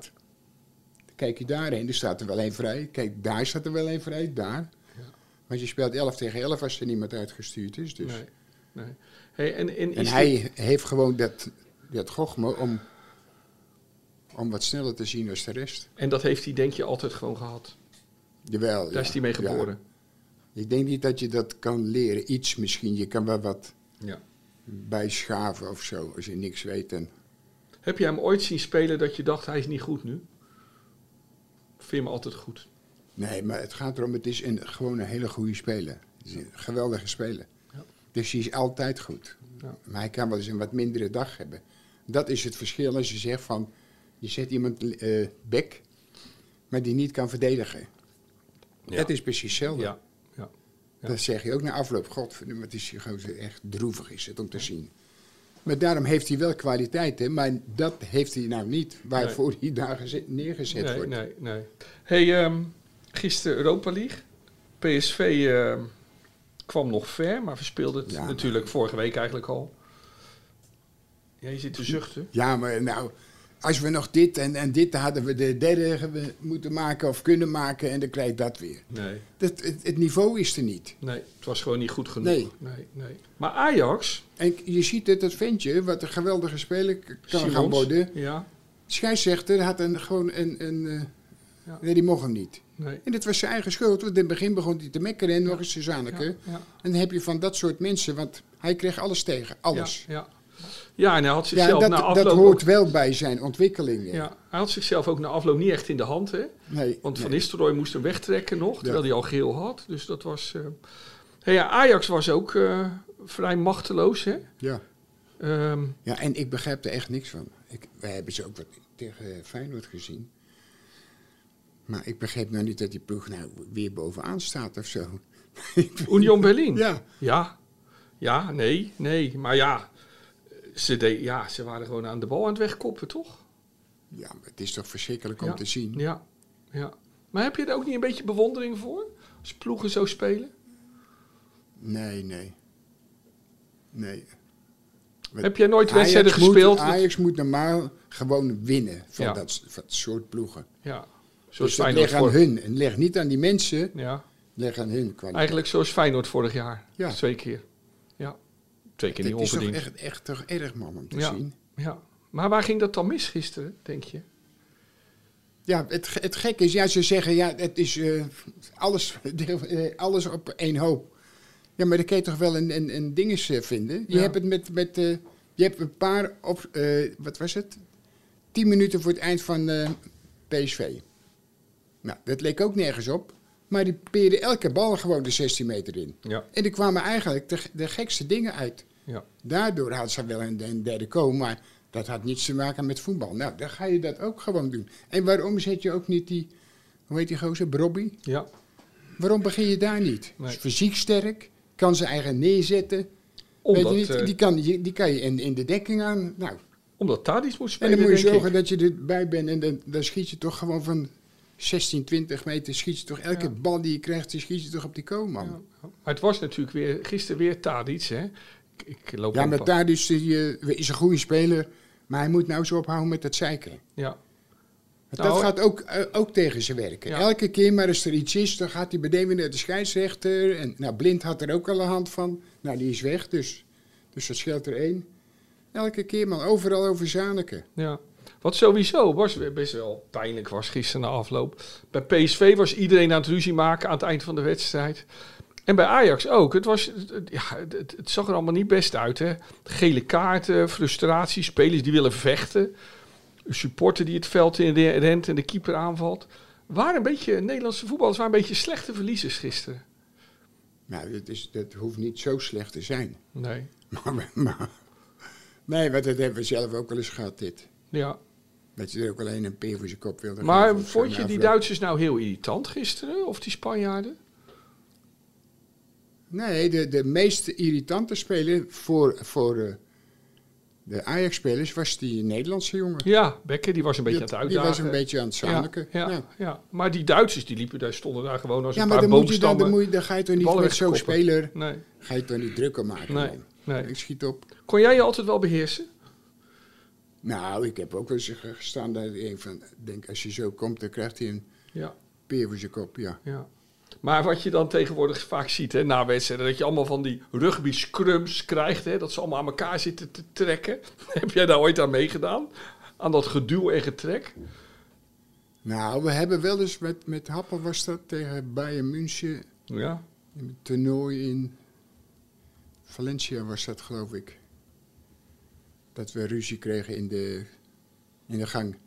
Speaker 2: Dan kijk je daarheen, er staat er wel één vrij. Kijk, daar staat er wel één vrij, daar.
Speaker 4: Ja.
Speaker 2: Want je speelt 11 tegen 11 als er niemand uitgestuurd is. Dus.
Speaker 4: Nee. nee. Hey, en, en,
Speaker 2: En
Speaker 4: is
Speaker 2: hij
Speaker 4: dit-
Speaker 2: heeft gewoon dat, dat gochme om, om wat sneller te zien als de rest.
Speaker 4: en dat heeft hij denk je altijd gewoon gehad.
Speaker 2: Jawel.
Speaker 4: Daar is hij mee geboren.
Speaker 2: Ik denk niet dat je dat kan leren. Iets misschien. Je kan wel wat
Speaker 4: Ja.
Speaker 2: bijschaven of zo. Als je niks weet. En
Speaker 4: Heb je hem ooit zien spelen dat je dacht, hij is niet goed nu? Vind je hem altijd goed?
Speaker 2: Nee, maar het gaat erom, het is een, gewoon een hele goede speler. Het is een geweldige speler.
Speaker 4: Ja.
Speaker 2: Dus die is altijd goed.
Speaker 4: Ja.
Speaker 2: Maar hij kan wel eens een wat mindere dag hebben. Dat is het verschil als je zegt van, je zet iemand eh bek, maar die niet kan verdedigen.
Speaker 4: Ja.
Speaker 2: Dat is precies hetzelfde.
Speaker 4: Ja. ja. ja.
Speaker 2: Dat zeg je ook na afloop. Godverdomme, wat is die gozer echt droevig is het om te zien. Maar daarom heeft hij wel kwaliteiten, maar dat heeft hij nou niet waarvoor hij daar geze- neergezet
Speaker 4: Nee,
Speaker 2: wordt.
Speaker 4: nee, nee. hey, ehm, gisteren Europa League. PSV ehm, kwam nog ver, maar verspeelde het
Speaker 2: Ja, maar-
Speaker 4: natuurlijk vorige week eigenlijk al. Ja, je zit te zuchten.
Speaker 2: Ja, maar nou, als we nog dit en, en dit hadden we de derde ge- moeten maken of kunnen maken en dan krijg je dat weer.
Speaker 4: Nee,
Speaker 2: Dat, het, het niveau is er niet.
Speaker 4: nee, het was gewoon niet goed genoeg.
Speaker 2: Nee.
Speaker 4: nee, nee. Maar Ajax,
Speaker 2: En k- je ziet het, dat ventje, wat een geweldige speler k- kan
Speaker 4: Simons,
Speaker 2: gaan worden.
Speaker 4: Ja,
Speaker 2: Scheidsrechter had een, gewoon een... een eh,
Speaker 4: Ja.
Speaker 2: Nee, die mocht hem niet.
Speaker 4: nee.
Speaker 2: En dat was zijn eigen schuld, want in het begin begon hij te mekkeren en nog eens Suzanneke.
Speaker 4: Ja, ja,
Speaker 2: En dan heb je van dat soort mensen, want hij kreeg alles tegen, alles.
Speaker 4: Ja, ja. ja, en hij had
Speaker 2: Ja,
Speaker 4: zichzelf
Speaker 2: dat,
Speaker 4: na afloop.
Speaker 2: dat hoort
Speaker 4: ook-
Speaker 2: wel bij zijn ontwikkeling. hè.
Speaker 4: ja, hij had zichzelf ook na afloop niet echt in de hand, hè?
Speaker 2: Nee,
Speaker 4: Want Van
Speaker 2: nee.
Speaker 4: Nistelrooy moest hem wegtrekken nog, terwijl hij al geel had. Dus dat was... eh, Hey, ja, Ajax was ook eh, vrij machteloos, hè?
Speaker 2: Ja.
Speaker 4: Ehm,
Speaker 2: Ja, en ik begrijp er echt niks van. Ik, wij hebben ze ook wat tegen eh, Feyenoord gezien. Maar ik begreep nou niet dat die ploeg nou weer bovenaan staat of zo.
Speaker 4: Union Berlin.
Speaker 2: ja,
Speaker 4: ja. Ja, nee, nee. Maar ja ze, de, ja, ze waren gewoon aan de bal aan het wegkoppen, toch?
Speaker 2: ja, maar het is toch verschrikkelijk om
Speaker 4: Ja.
Speaker 2: te zien.
Speaker 4: Ja, ja. Maar heb je er ook niet een beetje bewondering voor? Als ploegen zo spelen?
Speaker 2: Nee, nee. Nee. Wat-
Speaker 4: Heb jij nooit
Speaker 2: Ajax
Speaker 4: wedstrijden
Speaker 2: moet-
Speaker 4: gespeeld? dat-
Speaker 2: Ajax moet normaal gewoon winnen van,
Speaker 4: Ja.
Speaker 2: dat, van dat soort ploegen.
Speaker 4: ja, zoals
Speaker 2: Dus dat
Speaker 4: Feyenoord
Speaker 2: leg aan
Speaker 4: voor,
Speaker 2: hun. En leg niet aan die mensen,
Speaker 4: ja,
Speaker 2: leg aan hun kwaliteit.
Speaker 4: Eigenlijk zoals Feyenoord vorig jaar.
Speaker 2: Ja.
Speaker 4: Twee keer. Ja, twee keer niet
Speaker 2: Het is toch
Speaker 4: onverdiend.
Speaker 2: echt, echt toch erg man om te
Speaker 4: Ja.
Speaker 2: zien.
Speaker 4: Ja. Maar waar ging dat dan mis gisteren, denk je?
Speaker 2: Ja, het, ge- het gekke is, ja, ze zeggen, ja, het is eh, alles, eh, alles op één hoop. Ja, maar dan kun je toch wel een, een, een dinges eh, vinden. Je
Speaker 4: Ja.
Speaker 2: hebt het met, met eh, je hebt een paar, op, eh, wat was het? Tien minuten voor het eind van eh, PSV. Nou, dat leek ook nergens op. Maar die peerden elke bal gewoon de 16 meter in.
Speaker 4: Ja.
Speaker 2: En er kwamen eigenlijk de, de gekste dingen uit.
Speaker 4: Ja.
Speaker 2: Daardoor had ze wel een, een derde komen, maar dat had niets te maken met voetbal. Nou, dan ga je dat ook gewoon doen. En waarom zet je ook niet die, hoe heet die gozer, Brobby?
Speaker 4: Ja.
Speaker 2: Waarom begin je daar niet?
Speaker 4: Nee.
Speaker 2: Is fysiek sterk, kan zijn eigen neerzetten.
Speaker 4: Omdat,
Speaker 2: Weet je niet,
Speaker 4: eh,
Speaker 2: die, kan, je- die kan je in, in de dekking aan. Nou,
Speaker 4: Omdat Tadic moest
Speaker 2: en
Speaker 4: spelen,
Speaker 2: dan moet je
Speaker 4: denk
Speaker 2: zorgen
Speaker 4: ik.
Speaker 2: dat je erbij bent en dan, dan schiet je toch gewoon van 16, 20 meter, schiet je toch elke
Speaker 4: Ja.
Speaker 2: bal die je krijgt, die schiet je toch op die koolman.
Speaker 4: Ja. Maar het was natuurlijk weer, gisteren weer Tadic, hè? Ik, ik loop
Speaker 2: Ja,
Speaker 4: een
Speaker 2: maar
Speaker 4: pa-
Speaker 2: daar dus die, eh, is een goede speler, maar hij moet nou zo ophouden met dat zeiken.
Speaker 4: Ja.
Speaker 2: Want
Speaker 4: Nou,
Speaker 2: dat gaat ook, eh, ook tegen ze werken.
Speaker 4: Ja.
Speaker 2: Elke keer maar als er iets is, dan gaat hij beneden naar de scheidsrechter. En, nou, Blind had er ook al een hand van. Nou, die is weg, dus, dus dat scheelt er één. Elke keer maar overal over Zaneke.
Speaker 4: Ja. Wat sowieso was weer best wel pijnlijk was gisteren na afloop. Bij PSV was iedereen aan het ruzie maken aan het eind van de wedstrijd. En bij Ajax ook. Het, was, het- het- ja, het, het- het zag er allemaal niet best uit. Hè? Gele kaarten, frustratie, spelers die willen vechten. Een supporter die het veld in re- rent en de keeper aanvalt. Waren een beetje, Nederlandse voetballers waren een beetje slechte verliezers gisteren.
Speaker 2: Nou, dat, is, dat hoeft niet zo slecht te zijn.
Speaker 4: Nee.
Speaker 2: Maar, we- maar, nee, want dat hebben we zelf ook wel eens gehad, dit.
Speaker 4: Ja. Dat
Speaker 2: Dat je er ook alleen een peer voor zijn kop wilde
Speaker 4: Maar
Speaker 2: geven of zo
Speaker 4: vond je
Speaker 2: na
Speaker 4: die
Speaker 2: afloop.
Speaker 4: Duitsers nou heel irritant gisteren? Of die Spanjaarden?
Speaker 2: Nee, de, de meest irritante speler voor, voor eh, de Ajax-spelers was die Nederlandse jongen.
Speaker 4: Ja, Becker die was een beetje aan het
Speaker 2: Die
Speaker 4: uitdagen.
Speaker 2: was een beetje aan het zaniken.
Speaker 4: Ja, ja,
Speaker 2: Nou,
Speaker 4: ja. maar die Duitsers die liepen daar, stonden daar gewoon als
Speaker 2: ja,
Speaker 4: een
Speaker 2: maar
Speaker 4: paar
Speaker 2: dan, moet je dan,
Speaker 4: boomstammen.
Speaker 2: dan, moet je, dan ga je toch niet
Speaker 4: ballen
Speaker 2: met zo'n
Speaker 4: wegkoppen.
Speaker 2: speler...
Speaker 4: Nee,
Speaker 2: ga je toch niet drukker maken.
Speaker 4: nee,
Speaker 2: man.
Speaker 4: nee.
Speaker 2: Ik schiet op.
Speaker 4: Kon jij je altijd wel beheersen?
Speaker 2: Nou, ik heb ook wel eens gestaan daar ik denk van... denk, als je zo komt, dan krijgt hij een
Speaker 4: Ja,
Speaker 2: peer voor zijn kop, ja.
Speaker 4: ja. Maar wat je dan tegenwoordig vaak ziet hè, na wedstrijden, dat je allemaal van die rugby scrums krijgt, hè, dat ze allemaal aan elkaar zitten te trekken. Heb jij daar ooit aan meegedaan? Aan dat geduw en getrek?
Speaker 2: Nou, we hebben wel eens met, met Happen was dat tegen Bayern München.
Speaker 4: Ja.
Speaker 2: Een toernooi in Valencia was dat, geloof ik. Dat we ruzie kregen in de, in de gang.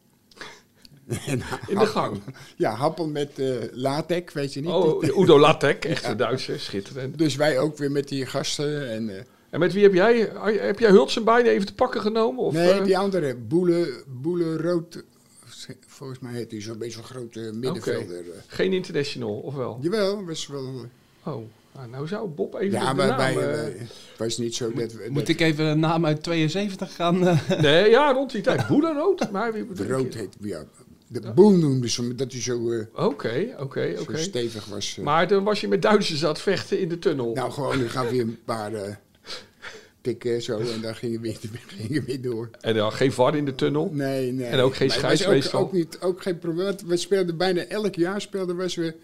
Speaker 2: En
Speaker 4: In de
Speaker 2: Happel-
Speaker 4: gang.
Speaker 2: Ja, Happel met eh latex, weet je niet.
Speaker 4: Oh, Udo Latek, echt een Duitser, schitterend.
Speaker 2: Dus wij ook weer met die gasten. En, eh,
Speaker 4: En met wie heb jij, heb jij Hulsen beide even te pakken genomen? Of,
Speaker 2: nee,
Speaker 4: eh,
Speaker 2: die andere, Boele, Boele Rood. Volgens mij heet hij zo'n beetje zo'n grote middenvelder. eh.
Speaker 4: Geen international, of wel?
Speaker 2: Jawel, was wel.
Speaker 4: Oh, nou, nou zou Bob even
Speaker 2: Ja,
Speaker 4: de
Speaker 2: maar
Speaker 4: naam,
Speaker 2: wij,
Speaker 4: eh,
Speaker 2: wij- het was niet zo dat we.
Speaker 5: Moet ik even een naam uit 72 gaan? eh,
Speaker 4: Nee, ja, rond die tijd. Boelenrood? Maar wie
Speaker 2: De
Speaker 4: bedoel je?
Speaker 2: rood heet, ja. De boel noemde ze, omdat hij zo, eh,
Speaker 4: Oké, oké,
Speaker 2: zo
Speaker 4: oké.
Speaker 2: stevig was. eh.
Speaker 4: Maar dan was je met Duitsers aan het vechten in de tunnel.
Speaker 2: Nou, gewoon, dan gaf hij een paar eh tikken zo en dan gingen we weer, gingen weer door.
Speaker 4: En dan geen var in de tunnel.
Speaker 2: Nee, nee.
Speaker 4: En ook geen
Speaker 2: Maar het was
Speaker 4: scheidsrechter.
Speaker 2: Ook, ook, niet, ook geen probleem. want We speelden bijna elk jaar, speelden we, als we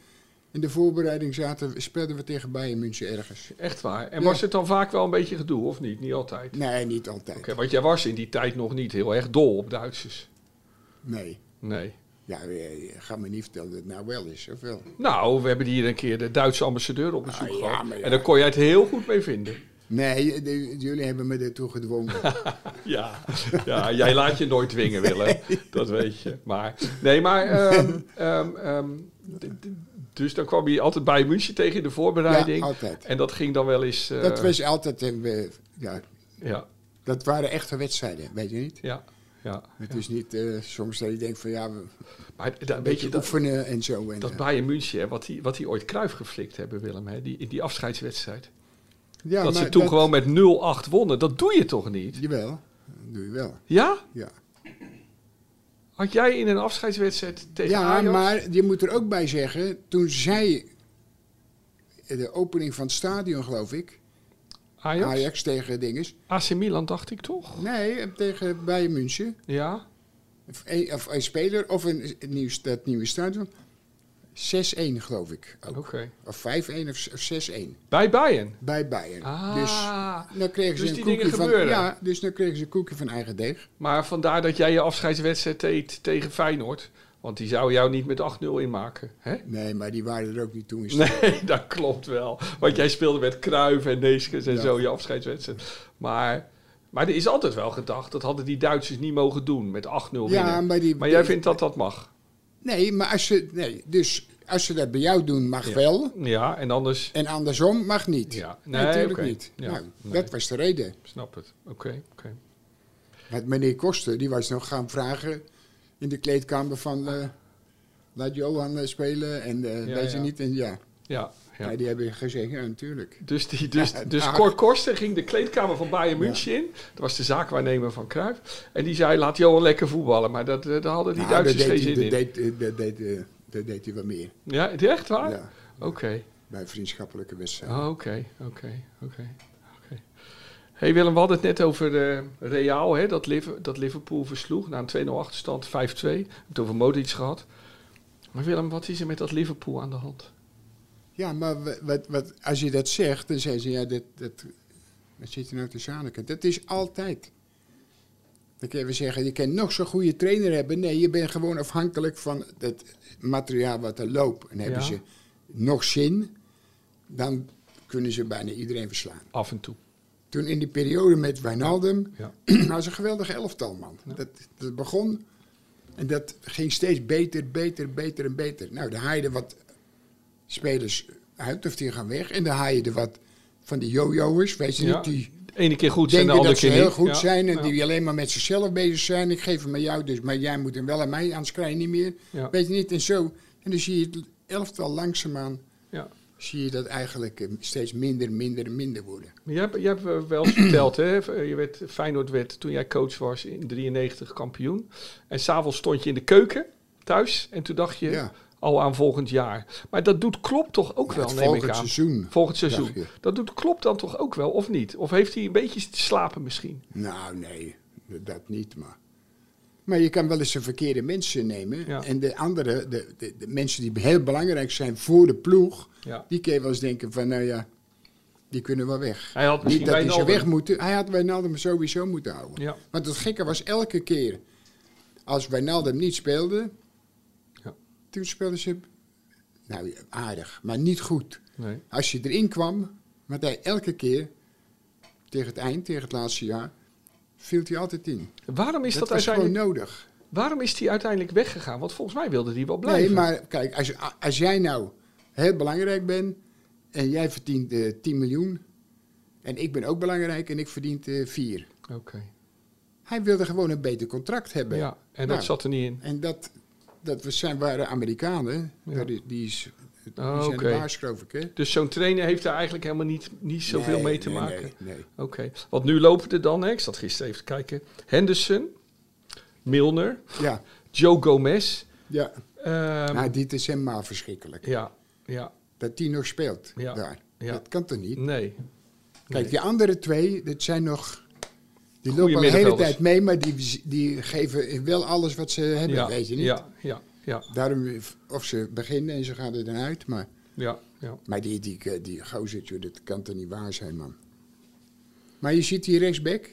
Speaker 2: in de voorbereiding zaten, speelden we tegen Bayern München ergens.
Speaker 4: Echt waar. En
Speaker 2: Ja.
Speaker 4: was het dan vaak wel een beetje gedoe, of niet? Niet altijd.
Speaker 2: Nee, niet altijd.
Speaker 4: Oké, want jij was in die tijd nog niet heel erg dol op Duitsers.
Speaker 2: Nee.
Speaker 4: Nee.
Speaker 2: Ja, eh, ga me niet vertellen dat het nou wel is, of wel?
Speaker 4: Nou, we hebben hier een keer de Duitse ambassadeur op bezoek
Speaker 2: Ah, ja,
Speaker 4: gehad.
Speaker 2: maar ja.
Speaker 4: En daar kon jij het heel goed mee vinden.
Speaker 2: Nee, de- jullie hebben me daartoe gedwongen.
Speaker 4: Ja, ja jij laat je nooit dwingen, Willem. Dat weet je. Maar, nee, maar... ehm, ehm, ehm, d- d- dus dan kwam je altijd bij München tegen in de voorbereiding.
Speaker 2: Ja, altijd.
Speaker 4: En dat ging dan wel eens... eh,
Speaker 2: dat was altijd, eh, we- ja,
Speaker 4: Ja,
Speaker 2: dat waren echte wedstrijden, weet je niet?
Speaker 4: ja, ja.
Speaker 2: Het is niet eh, soms dat je denkt van ja, we een
Speaker 4: Maar da- weet
Speaker 2: beetje
Speaker 4: je, dat,
Speaker 2: oefenen en zo. En,
Speaker 4: dat
Speaker 2: eh,
Speaker 4: Bayern München, hè, wat die, wat die ooit Kruif geflikt hebben, Willem, hè, die, in die afscheidswedstrijd.
Speaker 2: ja,
Speaker 4: dat ze
Speaker 2: maar
Speaker 4: toen gewoon met 0-8 wonnen. Dat doe je toch niet?
Speaker 2: Jawel, dat doe je wel,
Speaker 4: Ja?
Speaker 2: ja.
Speaker 4: Had jij in een afscheidswedstrijd tegen
Speaker 2: Ja,
Speaker 4: Ajax...
Speaker 2: maar je moet er ook bij zeggen, toen zij de opening van het stadion, geloof ik,
Speaker 4: Ajax?
Speaker 2: Ajax, tegen dinges.
Speaker 4: AC Milan, dacht ik toch?
Speaker 2: Nee, tegen Bayern München.
Speaker 4: Ja?
Speaker 2: Of een, of een speler of een, het nieuw, dat nieuwe stadion. 6-1 geloof ik. ook.
Speaker 4: Oké.
Speaker 2: Of 5-1 of, s- of 6-1.
Speaker 4: Bij Bayern?
Speaker 2: Bij Bayern.
Speaker 4: Ah,
Speaker 2: Dus dan kregen ze
Speaker 4: Dus
Speaker 2: een
Speaker 4: die
Speaker 2: koekje
Speaker 4: dingen
Speaker 2: van.
Speaker 4: gebeuren.
Speaker 2: Ja, dus dan kregen ze een koekje van eigen deeg.
Speaker 4: maar vandaar dat jij je afscheidswedstrijd deed tegen Feyenoord. Want die zou jou niet met 8-0 inmaken. Hè?
Speaker 2: Nee, maar die waren er ook niet toen. Nee.
Speaker 4: Nee, dat klopt wel. Want jij speelde met Kruijf en Neeskens en
Speaker 2: Ja.
Speaker 4: zo je afscheidswedstrijd. Maar, maar er is altijd wel gedacht, dat hadden die Duitsers niet mogen doen met 8-0
Speaker 2: Ja,
Speaker 4: winnen.
Speaker 2: maar die.
Speaker 4: Maar jij
Speaker 2: die-
Speaker 4: vindt dat dat mag?
Speaker 2: Nee, maar als ze. Nee, dus als ze dat bij jou doen, mag wel.
Speaker 4: Ja, en anders...
Speaker 2: En andersom mag niet.
Speaker 4: Ja,
Speaker 2: nee,
Speaker 4: nee,
Speaker 2: natuurlijk
Speaker 4: oké.
Speaker 2: niet.
Speaker 4: Ja,
Speaker 2: nou,
Speaker 4: nee.
Speaker 2: Dat was de reden.
Speaker 4: Snap het. Oké, oké.
Speaker 2: Want meneer Koster, die was nog gaan vragen in de kleedkamer van... eh, laat Johan eh, spelen en eh
Speaker 4: Ja,
Speaker 2: weet je
Speaker 4: ja.
Speaker 2: niet. En ja,
Speaker 4: Ja, ja.
Speaker 2: Ja, die hebben gezegd, ja, natuurlijk.
Speaker 4: Dus, die, dus,
Speaker 2: Ja,
Speaker 4: dus
Speaker 2: nou.
Speaker 4: Cor Korsten ging de kleedkamer van Bayern München in. Dat was de zaakwaarnemer van Cruijff. En die zei, laat Johan lekker voetballen. Maar dat, eh, daar hadden die
Speaker 2: Nou,
Speaker 4: Duitsers
Speaker 2: dat
Speaker 4: geen
Speaker 2: deed hij-
Speaker 4: zin in. Ah.
Speaker 2: dat deed, eh, dat deed, eh, dat deed hij wat meer.
Speaker 4: Ja, echt waar?
Speaker 2: Ja,
Speaker 4: Oké.
Speaker 2: bij vriendschappelijke wedstrijden.
Speaker 4: Oh, Oké, oké, oké. oké. Hey Willem, we hadden het net over eh, Real, hè, dat, Liver- dat Liverpool versloeg na een 2-0 achterstand, 5-2. We hebben het over Modric gehad. Maar Willem, wat is er met dat Liverpool aan de hand?
Speaker 2: Ja, maar wa- wat, wat, als je dat zegt, dan zeggen ze, ja, dat, dat, wat zit er nou te zaniken? Dat is altijd. Dan kun je wel zeggen, je kan nog zo'n goede trainer hebben. Nee, je bent gewoon afhankelijk van het materiaal wat er loopt. En hebben
Speaker 4: Ja.
Speaker 2: ze nog zin, dan kunnen ze bijna iedereen verslaan.
Speaker 4: Af en toe.
Speaker 2: Toen in die periode met Wijnaldum,
Speaker 4: Ja.
Speaker 2: was een geweldige elftal, man. Dat, dat begon en dat ging steeds beter, beter, beter en beter. Nou, daar haal je er wat spelers uit of die gaan weg. En daar haal je er wat van die jojo'ers, weet je
Speaker 4: Ja.
Speaker 2: niet, die
Speaker 4: De ene keer goed zijn, de
Speaker 2: denken
Speaker 4: andere
Speaker 2: dat ze
Speaker 4: keer niet.
Speaker 2: heel goed
Speaker 4: Ja,
Speaker 2: zijn en
Speaker 4: ja,
Speaker 2: die alleen maar met zichzelf bezig zijn. Ik geef hem aan jou, dus, maar jij moet hem wel aan mij, anders krijg je niet meer.
Speaker 4: Ja.
Speaker 2: Weet je niet, en zo. En dan zie je het elftal langzaamaan,
Speaker 4: ja.
Speaker 2: zie je dat eigenlijk eh, steeds minder, minder, minder worden.
Speaker 4: Maar Jij, hebt- jij hebt eh, wel eens verteld, hè? eh, Je werd, Feyenoord werd toen jij coach was in 93 kampioen. En s'avonds stond je in de keuken thuis en toen dacht je
Speaker 2: Ja.
Speaker 4: al aan volgend jaar. Maar dat doet Klopp toch ook wel,
Speaker 2: het
Speaker 4: neem ik
Speaker 2: volgend
Speaker 4: aan.
Speaker 2: seizoen.
Speaker 4: Volgend seizoen.
Speaker 2: dacht je.
Speaker 4: Dat doet Klopp dan toch ook wel, of niet? Of heeft hij een beetje te slapen misschien?
Speaker 2: Nou, nee, dat niet, maar. Maar je kan wel eens de verkeerde mensen nemen.
Speaker 4: Ja.
Speaker 2: En de andere, de, de, de mensen die heel belangrijk zijn voor de ploeg,
Speaker 4: Ja.
Speaker 2: die kun je wel eens denken van, nou ja, die kunnen wel weg.
Speaker 4: Hij had
Speaker 2: Niet
Speaker 4: misschien
Speaker 2: dat hij ze
Speaker 4: Wijnaldum.
Speaker 2: weg moeten. Hij had Wijnaldum sowieso moeten houden.
Speaker 4: Ja.
Speaker 2: Want het gekke was elke keer, als Wijnaldum niet speelde,
Speaker 4: Ja.
Speaker 2: toen speelden ze, nou aardig, maar niet goed.
Speaker 4: Nee.
Speaker 2: Als je erin kwam, want hij elke keer, tegen het eind, tegen het laatste jaar, viel hij altijd in.
Speaker 4: Waarom is,
Speaker 2: dat
Speaker 4: dat
Speaker 2: was gewoon
Speaker 4: uiteindelijk,
Speaker 2: nodig.
Speaker 4: waarom is die uiteindelijk weggegaan? Want volgens mij wilde die wel blijven.
Speaker 2: Nee, maar kijk, als, als jij nou heel belangrijk bent en jij verdient eh 10 miljoen en ik ben ook belangrijk en ik verdien eh 4.
Speaker 4: Oké.
Speaker 2: Hij wilde gewoon een beter contract hebben.
Speaker 4: Ja, en
Speaker 2: Nou.
Speaker 4: dat zat er niet in.
Speaker 2: En dat, dat we zijn, waren Amerikanen,
Speaker 4: Ja.
Speaker 2: Daar is- die, is, die
Speaker 4: Oh,
Speaker 2: zijn
Speaker 4: oké.
Speaker 2: de baas, geloof ik. Hè?
Speaker 4: Dus zo'n trainer heeft daar eigenlijk helemaal niet, niet zoveel
Speaker 2: Nee,
Speaker 4: mee te
Speaker 2: nee,
Speaker 4: maken.
Speaker 2: Nee, nee.
Speaker 4: Oké. Want nu lopen er dan, hè, ik zat gisteren even te kijken. Henderson, Milner,
Speaker 2: Ja,
Speaker 4: Joe Gomez.
Speaker 2: ja.
Speaker 4: ehm,
Speaker 2: maar dit is helemaal verschrikkelijk.
Speaker 4: ja, ja,
Speaker 2: Dat die nog speelt
Speaker 4: Ja.
Speaker 2: daar.
Speaker 4: Ja.
Speaker 2: Dat kan toch niet?
Speaker 4: nee.
Speaker 2: Kijk,
Speaker 4: Nee.
Speaker 2: die andere twee, dat zijn nog. Die
Speaker 4: Goeie
Speaker 2: lopen al de hele
Speaker 4: middenvelders.
Speaker 2: tijd mee, maar die, die geven wel alles wat ze hebben,
Speaker 4: ja,
Speaker 2: weet je niet.
Speaker 4: Ja, ja, ja,
Speaker 2: Daarom, of ze beginnen en ze gaan er dan uit. Maar,
Speaker 4: ja, ja.
Speaker 2: maar die, die, die, gozer, joh, dat kan toch niet waar zijn, man. Maar je ziet hier rechtsback.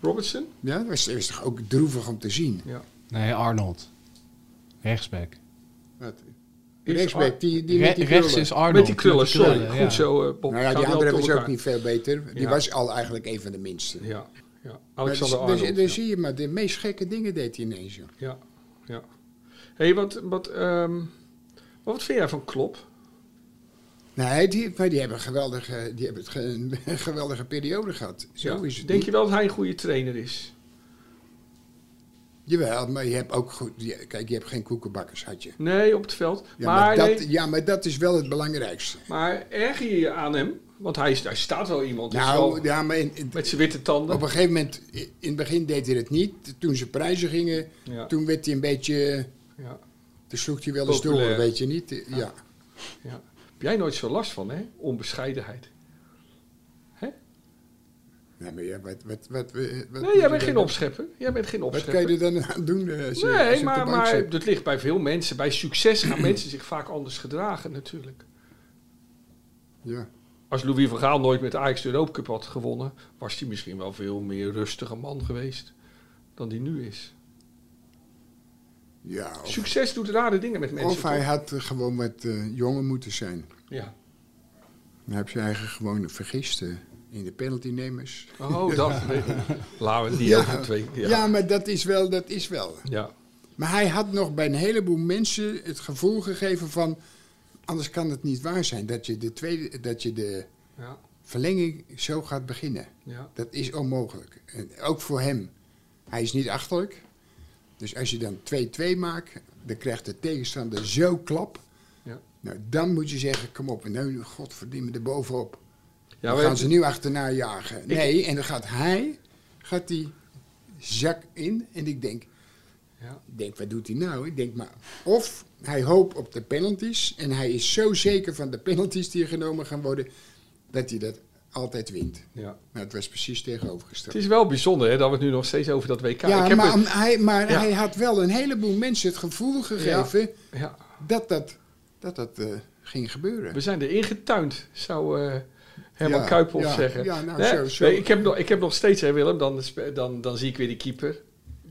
Speaker 4: Robertson?
Speaker 2: Ja, dat was, dat was toch ook droevig om te zien.
Speaker 4: Ja.
Speaker 5: Nee, Arnold. Rechtsback.
Speaker 2: Wat?
Speaker 4: Is Ar-
Speaker 2: Rechtsback, die, die
Speaker 5: Re-
Speaker 2: met die
Speaker 5: rechts
Speaker 2: krullen.
Speaker 5: is Arnold.
Speaker 4: Met die krullen, sorry.
Speaker 5: ja.
Speaker 4: Goed zo, eh, Bob.
Speaker 2: Nou ja,
Speaker 4: Gaan
Speaker 2: die
Speaker 4: we
Speaker 2: andere
Speaker 4: op
Speaker 2: was
Speaker 4: elkaar.
Speaker 2: ook niet veel beter. Die
Speaker 4: Ja.
Speaker 2: was al eigenlijk een van de minste.
Speaker 4: Ja, ja.
Speaker 2: Maar
Speaker 4: Alexander
Speaker 2: dus- dus-
Speaker 4: Arnold.
Speaker 2: Daar
Speaker 4: ja.
Speaker 2: zie je maar, de meest gekke dingen deed hij ineens, joh.
Speaker 4: Ja, ja. Hé, hey, wat, wat, ehm, wat vind jij van Klop?
Speaker 2: Nee, Nou, die, maar die hebben, een geweldige, die hebben het ge- een geweldige periode gehad. Zo is het.
Speaker 4: Denk
Speaker 2: niet.
Speaker 4: je wel dat hij een goede trainer is?
Speaker 2: Jawel, maar je hebt ook goed. je- kijk, je hebt geen koekenbakkers, had je.
Speaker 4: Nee, op het veld.
Speaker 2: Ja maar,
Speaker 4: maar,
Speaker 2: dat,
Speaker 4: nee,
Speaker 2: ja, maar dat is wel het belangrijkste.
Speaker 4: maar erger je je aan hem? Want hij, is, hij staat wel iemand. dus
Speaker 2: Nou,
Speaker 4: wel
Speaker 2: ja, maar in- in-
Speaker 4: met zijn witte tanden.
Speaker 2: op een gegeven moment, in het begin deed hij het niet. Toen ze prijzen gingen,
Speaker 4: Ja.
Speaker 2: toen werd hij een beetje.
Speaker 4: ja,
Speaker 2: Toen sloeg hij wel eens door,
Speaker 4: Populair.
Speaker 2: weet je niet. Ja.
Speaker 4: ja. Heb jij nooit zo last van, hè? Onbescheidenheid.
Speaker 2: Nee, maar ja, wat, wat, wat, wat, wat
Speaker 4: Nee, jij bent geen opschepper. Jij bent geen
Speaker 2: Wat kan je
Speaker 4: opschepper.
Speaker 2: er dan aan doen? eh, Als je, als
Speaker 4: Nee,
Speaker 2: je op
Speaker 4: maar,
Speaker 2: de bank
Speaker 4: maar
Speaker 2: zit?
Speaker 4: dat ligt bij veel mensen. Bij succes gaan mensen zich vaak anders gedragen, natuurlijk.
Speaker 2: Ja.
Speaker 4: Als Louis van Gaal nooit met Ajax de Europa Cup had gewonnen, was hij misschien wel veel meer rustige man geweest dan die nu is.
Speaker 2: ja of,
Speaker 4: Succes doet rare dingen met mensen.
Speaker 2: of hij
Speaker 4: toch?
Speaker 2: had eh, gewoon met eh jongen moeten zijn.
Speaker 4: Ja.
Speaker 2: Dan heb je eigenlijk gewoon vergist eh, in de penaltynemers.
Speaker 4: Oh, dat. nee. Laten we die
Speaker 2: Ja.
Speaker 4: over twee.
Speaker 2: Ja.
Speaker 4: Ja. ja.
Speaker 2: maar dat is wel, dat is wel. Maar hij had nog bij een heleboel mensen het gevoel gegeven van... anders kan het niet waar zijn dat je de, tweede, dat je de
Speaker 4: Ja.
Speaker 2: verlenging zo gaat beginnen.
Speaker 4: Ja.
Speaker 2: Dat is onmogelijk. En ook voor hem. Hij is niet achterlijk. Dus als je dan 2-2 maakt, dan krijgt de tegenstander zo klap.
Speaker 4: Ja.
Speaker 2: Nou, dan moet je zeggen, kom op, nou, godverdimme, er bovenop.
Speaker 4: Ja,
Speaker 2: dan
Speaker 4: we-
Speaker 2: gaan ze nu achterna jagen. Nee, en dan gaat hij, gaat die zak in. En ik denk,
Speaker 4: Ja.
Speaker 2: ik denk, wat doet hij nou? Ik denk, maar of hij hoopt op de penalties. En hij is zo zeker van de penalties die er genomen gaan worden, dat hij dat altijd wint.
Speaker 4: Ja.
Speaker 2: Nou, het was precies tegenovergesteld.
Speaker 4: Het is wel bijzonder hè, dat we het nu nog steeds over dat WK
Speaker 2: Ja,
Speaker 4: ik heb
Speaker 2: maar,
Speaker 4: het-
Speaker 2: hij, maar
Speaker 4: Ja.
Speaker 2: hij had wel een heleboel mensen het gevoel gegeven
Speaker 4: ja,
Speaker 2: dat dat, dat, dat eh, ging gebeuren.
Speaker 4: we zijn erin getuind, zou eh Herman
Speaker 2: Ja,
Speaker 4: Kuipel
Speaker 2: ja,
Speaker 4: zeggen.
Speaker 2: ja, nou,
Speaker 4: Nee,
Speaker 2: zo- zo.
Speaker 4: nee, ik, heb nog, ik heb nog steeds, hè, Willem, dan, spe- dan, dan zie ik weer die keeper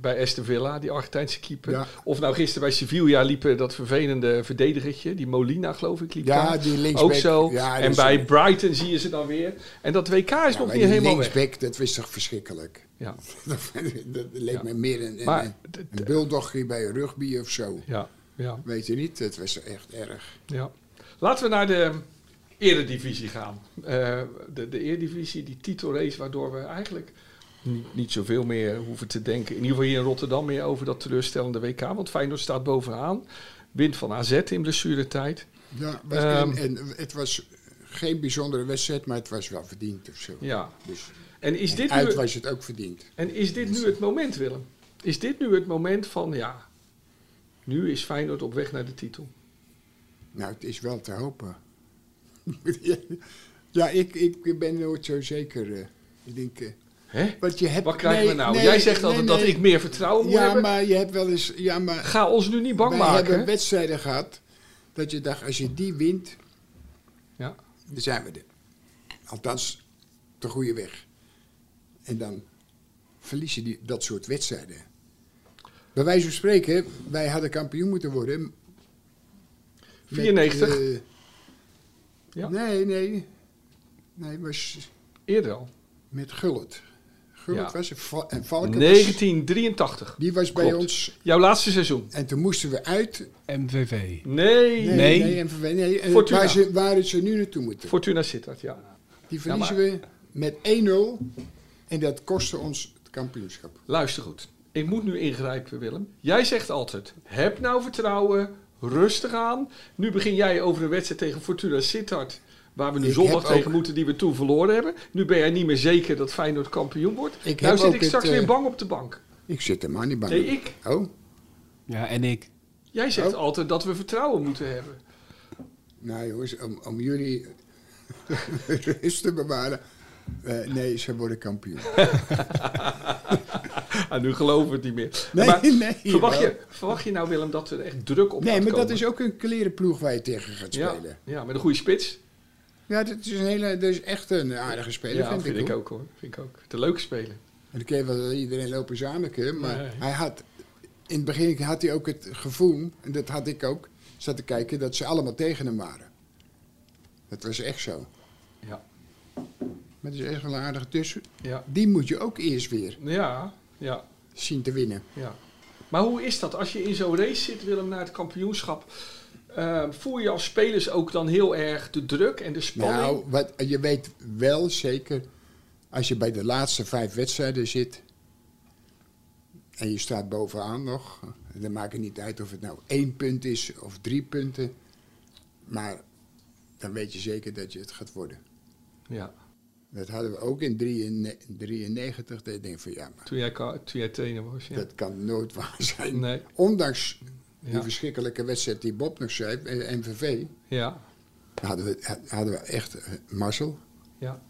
Speaker 4: bij Aston Villa, die Argentijnse keeper.
Speaker 2: Ja.
Speaker 4: Of nou gisteren bij Sevilla liep eh, dat vervelende verdedigertje, die Molina geloof ik, liep
Speaker 2: Ja,
Speaker 4: daar.
Speaker 2: die linksback.
Speaker 4: Ook zo.
Speaker 2: Ja, die
Speaker 4: en
Speaker 2: is-
Speaker 4: bij Brighton zie je ze dan weer. En dat WK is
Speaker 2: Ja,
Speaker 4: nog
Speaker 2: maar
Speaker 4: niet
Speaker 2: die
Speaker 4: helemaal weg.
Speaker 2: linksback, dat was toch verschrikkelijk?
Speaker 4: Ja,
Speaker 2: dat leek
Speaker 4: Ja.
Speaker 2: me meer een, een,
Speaker 4: Maar
Speaker 2: een,
Speaker 4: d- d-
Speaker 2: een bulldogje bij rugby of zo.
Speaker 4: ja, ja,
Speaker 2: Weet je niet, dat was echt erg.
Speaker 4: ja. Laten we naar de eredivisie gaan. Eh, de, de eredivisie, die titelrace waardoor we eigenlijk niet, niet zoveel meer hoeven te denken. In ieder geval hier in Rotterdam meer over dat teleurstellende WK. Want Feyenoord staat bovenaan. Wint van AZ in blessuretijd.
Speaker 2: Ja, was-
Speaker 4: Ehm.
Speaker 2: en, en het was geen bijzondere wedstrijd, maar het was wel verdiend of zo.
Speaker 4: Ja.
Speaker 2: Dus
Speaker 4: En is dit
Speaker 2: uit
Speaker 4: nu,
Speaker 2: was het ook verdiend.
Speaker 4: en is dit nu het moment, Willem? Is dit nu het moment van, ja, nu is Feyenoord op weg naar de titel?
Speaker 2: Nou, het is wel te hopen. ja, ik, ik ben nooit zo zeker. eh. ik denk, eh,
Speaker 4: Hè?
Speaker 2: Want je hebt,
Speaker 4: Wat krijgen
Speaker 2: nee,
Speaker 4: we nou?
Speaker 2: nee,
Speaker 4: Jij zegt altijd
Speaker 2: nee,
Speaker 4: dat
Speaker 2: nee.
Speaker 4: ik meer vertrouwen moet
Speaker 2: Ja,
Speaker 4: hebben.
Speaker 2: maar je hebt wel eens... Ja, maar
Speaker 4: Ga ons nu niet bang
Speaker 2: wij
Speaker 4: maken.
Speaker 2: hebben wedstrijden gehad dat je dacht, als je die wint,
Speaker 4: Ja.
Speaker 2: dan zijn we er. Althans, op de goede weg. En dan verlies je die, dat soort wedstrijden. Bij wijze van spreken, wij hadden kampioen moeten worden. met,
Speaker 4: 94?
Speaker 2: eh,
Speaker 4: Ja.
Speaker 2: Nee, nee. Nee, was
Speaker 4: Eerder al.
Speaker 2: met Gullit. Gullit
Speaker 4: Ja.
Speaker 2: was een val- en Valken was-
Speaker 4: 1983.
Speaker 2: Die was bij
Speaker 4: Klopt.
Speaker 2: ons.
Speaker 4: Jouw laatste seizoen.
Speaker 2: En toen moesten we uit.
Speaker 5: MVV.
Speaker 4: Nee.
Speaker 2: Nee,
Speaker 5: Nee.
Speaker 2: nee, MVV, nee, en
Speaker 4: Fortuna.
Speaker 2: waar, ze, waar ze nu naartoe moeten.
Speaker 4: Fortuna Sittard, ja.
Speaker 2: Die
Speaker 4: Ja, maar-
Speaker 2: verliezen we met 1-0. En dat kostte ons het kampioenschap.
Speaker 4: Luister goed. Ik moet nu ingrijpen, Willem. Jij zegt altijd: heb nou vertrouwen, rustig aan. Nu begin jij over een wedstrijd tegen Fortuna Sittard. Waar we nu
Speaker 2: Ik
Speaker 4: zondag
Speaker 2: heb ook-
Speaker 4: tegen moeten, die we toen verloren hebben. Nu ben jij niet meer zeker dat Feyenoord kampioen wordt.
Speaker 2: Ik
Speaker 4: nou
Speaker 2: heb
Speaker 4: zit
Speaker 2: ook
Speaker 4: ik
Speaker 2: het,
Speaker 4: straks
Speaker 2: eh,
Speaker 4: weer bang op de bank.
Speaker 2: Ik zit er maar niet bij.
Speaker 4: Nee, ik.
Speaker 2: Oh,
Speaker 5: Ja, en ik.
Speaker 4: Jij zegt
Speaker 2: Oh.
Speaker 4: altijd dat we vertrouwen moeten hebben.
Speaker 2: nou jongens, om, om jullie rust te bewaren. eh, nee, ze worden kampioen.
Speaker 4: Ah, nu geloven we het niet meer.
Speaker 2: Nee,
Speaker 4: maar
Speaker 2: nee,
Speaker 4: verwacht,
Speaker 2: jawel.
Speaker 4: je, verwacht je nou, Willem, dat er echt druk op
Speaker 2: Nee,
Speaker 4: gaat
Speaker 2: maar dat
Speaker 4: komen?
Speaker 2: is ook een klerenploeg waar je tegen gaat
Speaker 4: ja,
Speaker 2: spelen.
Speaker 4: ja, met een goede spits.
Speaker 2: Ja, dat is, een hele, dat is echt een aardige speler,
Speaker 4: ja,
Speaker 2: vind, ik, ook.
Speaker 4: ook hoor. Vind ik ook. De leuke speler.
Speaker 2: En dan kun je wel iedereen lopen zaniken, maar
Speaker 4: Nee.
Speaker 2: hij had... In het begin had hij ook het gevoel, en dat had ik ook, zat te kijken, dat ze allemaal tegen hem waren. Dat was echt zo.
Speaker 4: Ja.
Speaker 2: Maar het is echt wel een aardige tussen.
Speaker 4: Ja.
Speaker 2: Die moet je ook eerst weer
Speaker 4: Ja, ja,
Speaker 2: zien te winnen.
Speaker 4: ja. Maar hoe is dat? Als je in zo'n race zit, Willem, naar het kampioenschap, eh, voel je als spelers ook dan heel erg de druk en de spanning?
Speaker 2: Nou, wat, je weet wel zeker, als je bij de laatste vijf wedstrijden zit en je staat bovenaan nog, dan maakt het niet uit of het nou één punt is of drie punten, maar dan weet je zeker dat je het gaat worden.
Speaker 4: ja,
Speaker 2: Dat hadden we ook in 93. Dat ik denk van ja, maar
Speaker 4: toen jij, ka- toen jij trainer was. Ja.
Speaker 2: dat kan nooit waar zijn.
Speaker 4: Nee.
Speaker 2: Ondanks
Speaker 4: Ja.
Speaker 2: die verschrikkelijke wedstrijd die Bob nog schreef, eh, MVV,
Speaker 4: ja,
Speaker 2: hadden we, hadden we echt eh, mazzel.
Speaker 4: ja.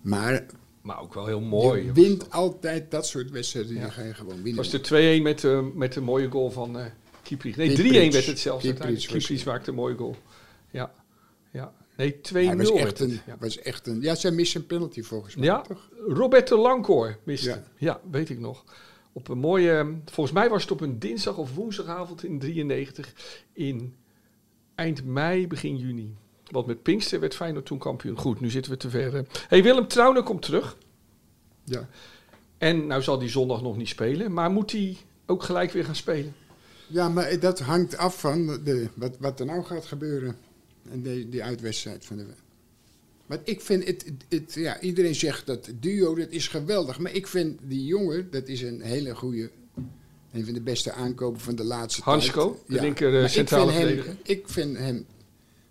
Speaker 2: Maar
Speaker 4: Maar ook wel heel mooi.
Speaker 2: je
Speaker 4: was
Speaker 2: wint
Speaker 4: dat.
Speaker 2: altijd dat soort wedstrijden.
Speaker 4: Ja.
Speaker 2: Die ga je gewoon
Speaker 4: Het
Speaker 2: winnen.
Speaker 4: was de 2-1 met, eh, met een mooie goal van eh Kieprits. Nee,
Speaker 2: Kieprits.
Speaker 4: 3-1 werd het zelfs
Speaker 2: Kieprits
Speaker 4: uiteindelijk.
Speaker 2: was-
Speaker 4: Kieprits maakte een mooie goal. Ja, ja. Nee, 2-0
Speaker 2: Hij was
Speaker 4: werd
Speaker 2: echt
Speaker 4: het,
Speaker 2: een,
Speaker 4: ja.
Speaker 2: was echt een... Ja, zij missen een penalty volgens mij,
Speaker 4: Ja,
Speaker 2: toch?
Speaker 4: Roberto Lancoor miste. Ja.
Speaker 2: Ja.
Speaker 4: weet ik nog. Op een mooie, ehm, volgens mij was het op een dinsdag of woensdagavond in 93 in eind mei, begin juni. Want met Pinkster werd Feyenoord toen kampioen. Goed, nu zitten we te ver. Hé, hey, Willem Trauner komt terug.
Speaker 2: Ja.
Speaker 4: En nou zal die zondag nog niet spelen, maar moet hij ook gelijk weer gaan spelen?
Speaker 2: ja, maar dat hangt af van de, wat, wat er nou gaat gebeuren. En die, die uitwedstrijd van de... Want ik vind het, het, het- ja, iedereen zegt dat duo, dat is geweldig. Maar ik vind die jongen, dat is een hele goede, een van de beste aankopen van de laatste
Speaker 4: Hansko,
Speaker 2: tijd.
Speaker 4: de linker, eh,
Speaker 2: Maar ik
Speaker 4: centrale
Speaker 2: vind hem-
Speaker 4: verdediger.
Speaker 2: Ik vind hem,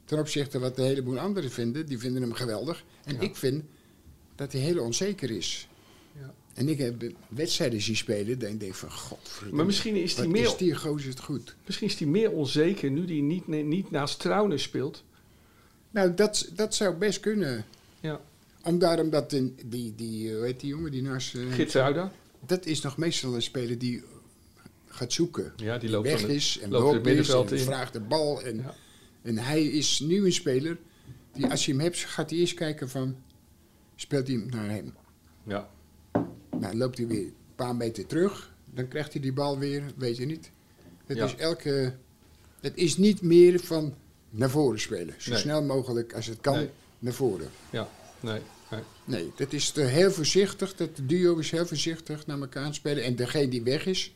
Speaker 2: ten opzichte wat een heleboel anderen vinden, die vinden hem geweldig. En ik vind dat hij heel onzeker is.
Speaker 4: Ja.
Speaker 2: En ik heb wedstrijden zien spelen, dan denk ik van, godverdomme.
Speaker 4: Maar misschien is hij
Speaker 2: wat
Speaker 4: meer,
Speaker 2: is die gozer het goed?
Speaker 4: misschien is die meer onzeker nu hij niet, nee, niet naast Trauner speelt.
Speaker 2: Nou, dat, dat zou best kunnen.
Speaker 4: Ja.
Speaker 2: Om daarom dat in, die, die, hoe heet die jongen die naast...
Speaker 4: Hmm.
Speaker 2: eh,
Speaker 4: Gitruida.
Speaker 2: Dat is nog meestal een speler die gaat zoeken.
Speaker 4: Ja, die loopt
Speaker 2: weg
Speaker 4: dan het-
Speaker 2: is en
Speaker 4: loopt het
Speaker 2: loopt is en
Speaker 4: middenveld in.
Speaker 2: vraagt de bal. En,
Speaker 4: Ja.
Speaker 2: en hij is nu een speler die als je hem hebt, gaat hij eerst kijken van... Speelt hij hem naar hem?
Speaker 4: Ja.
Speaker 2: Nou, loopt hij weer een paar meter terug. Dan krijgt hij die bal weer, weet je niet. Het
Speaker 4: Ja.
Speaker 2: is elke... Het is niet meer van naar voren spelen. Zo
Speaker 4: Nee.
Speaker 2: snel mogelijk, als het kan,
Speaker 4: Nee.
Speaker 2: naar voren.
Speaker 4: Ja. Nee. nee.
Speaker 2: Nee, dat is te heel voorzichtig. Dat duo is heel voorzichtig naar elkaar aan het spelen. En degene die weg is,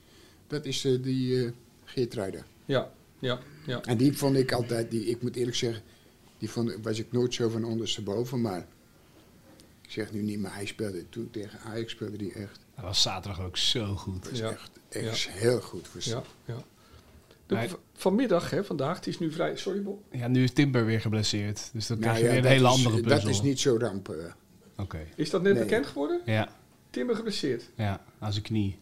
Speaker 2: dat is eh, die eh Geertruida.
Speaker 4: Ja. Ja. Ja.
Speaker 2: En die vond ik altijd, die, ik moet eerlijk zeggen, die vond, was ik nooit zo van ondersteboven. Maar ik zeg nu niet, maar hij speelde toen tegen Ajax, speelde die echt,
Speaker 5: Dat was zaterdag ook zo goed.
Speaker 2: was
Speaker 4: Ja.
Speaker 2: echt, echt heel goed voor
Speaker 4: Ja, ja.
Speaker 5: Maar-
Speaker 4: De- v- vanmiddag, hè, vandaag, het is nu vrij... Sorry, Bob.
Speaker 5: Ja, nu is Timber weer geblesseerd. Dus dan
Speaker 2: Nou
Speaker 5: krijg je
Speaker 2: ja,
Speaker 5: weer een
Speaker 2: dat
Speaker 5: hele
Speaker 2: is-
Speaker 5: andere puzzel.
Speaker 2: Dat is niet zo ramp. eh.
Speaker 5: Oké.
Speaker 4: Is dat net
Speaker 2: Nee.
Speaker 4: bekend geworden?
Speaker 5: Ja,
Speaker 4: Timmer geblesseerd.
Speaker 5: ja, aan zijn knie.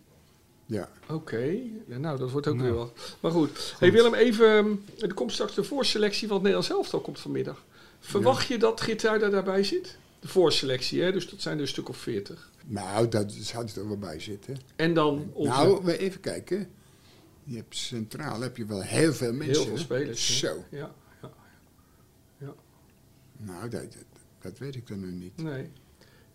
Speaker 2: ja.
Speaker 4: Oké, Ja, nou, dat wordt ook
Speaker 5: Nou.
Speaker 4: weer wat. Maar goed. Hey, Willem, even... ehm, Er komt straks de voorselectie van het Nederlands elftal komt vanmiddag. Verwacht je dat Gitruida daarbij zit? De voorselectie, hè? Dus dat zijn er een stuk of veertig.
Speaker 2: Nou, dat zou er toch wel bij zitten.
Speaker 4: En dan onze...
Speaker 2: Nou, we even kijken. Je hebt centraal heb je wel heel veel mensen.
Speaker 4: heel veel
Speaker 2: hè?
Speaker 4: spelers. hè?
Speaker 2: Zo.
Speaker 4: Ja, ja. ja.
Speaker 2: Nou, dat, dat, dat weet ik dan nu niet.
Speaker 4: Nee.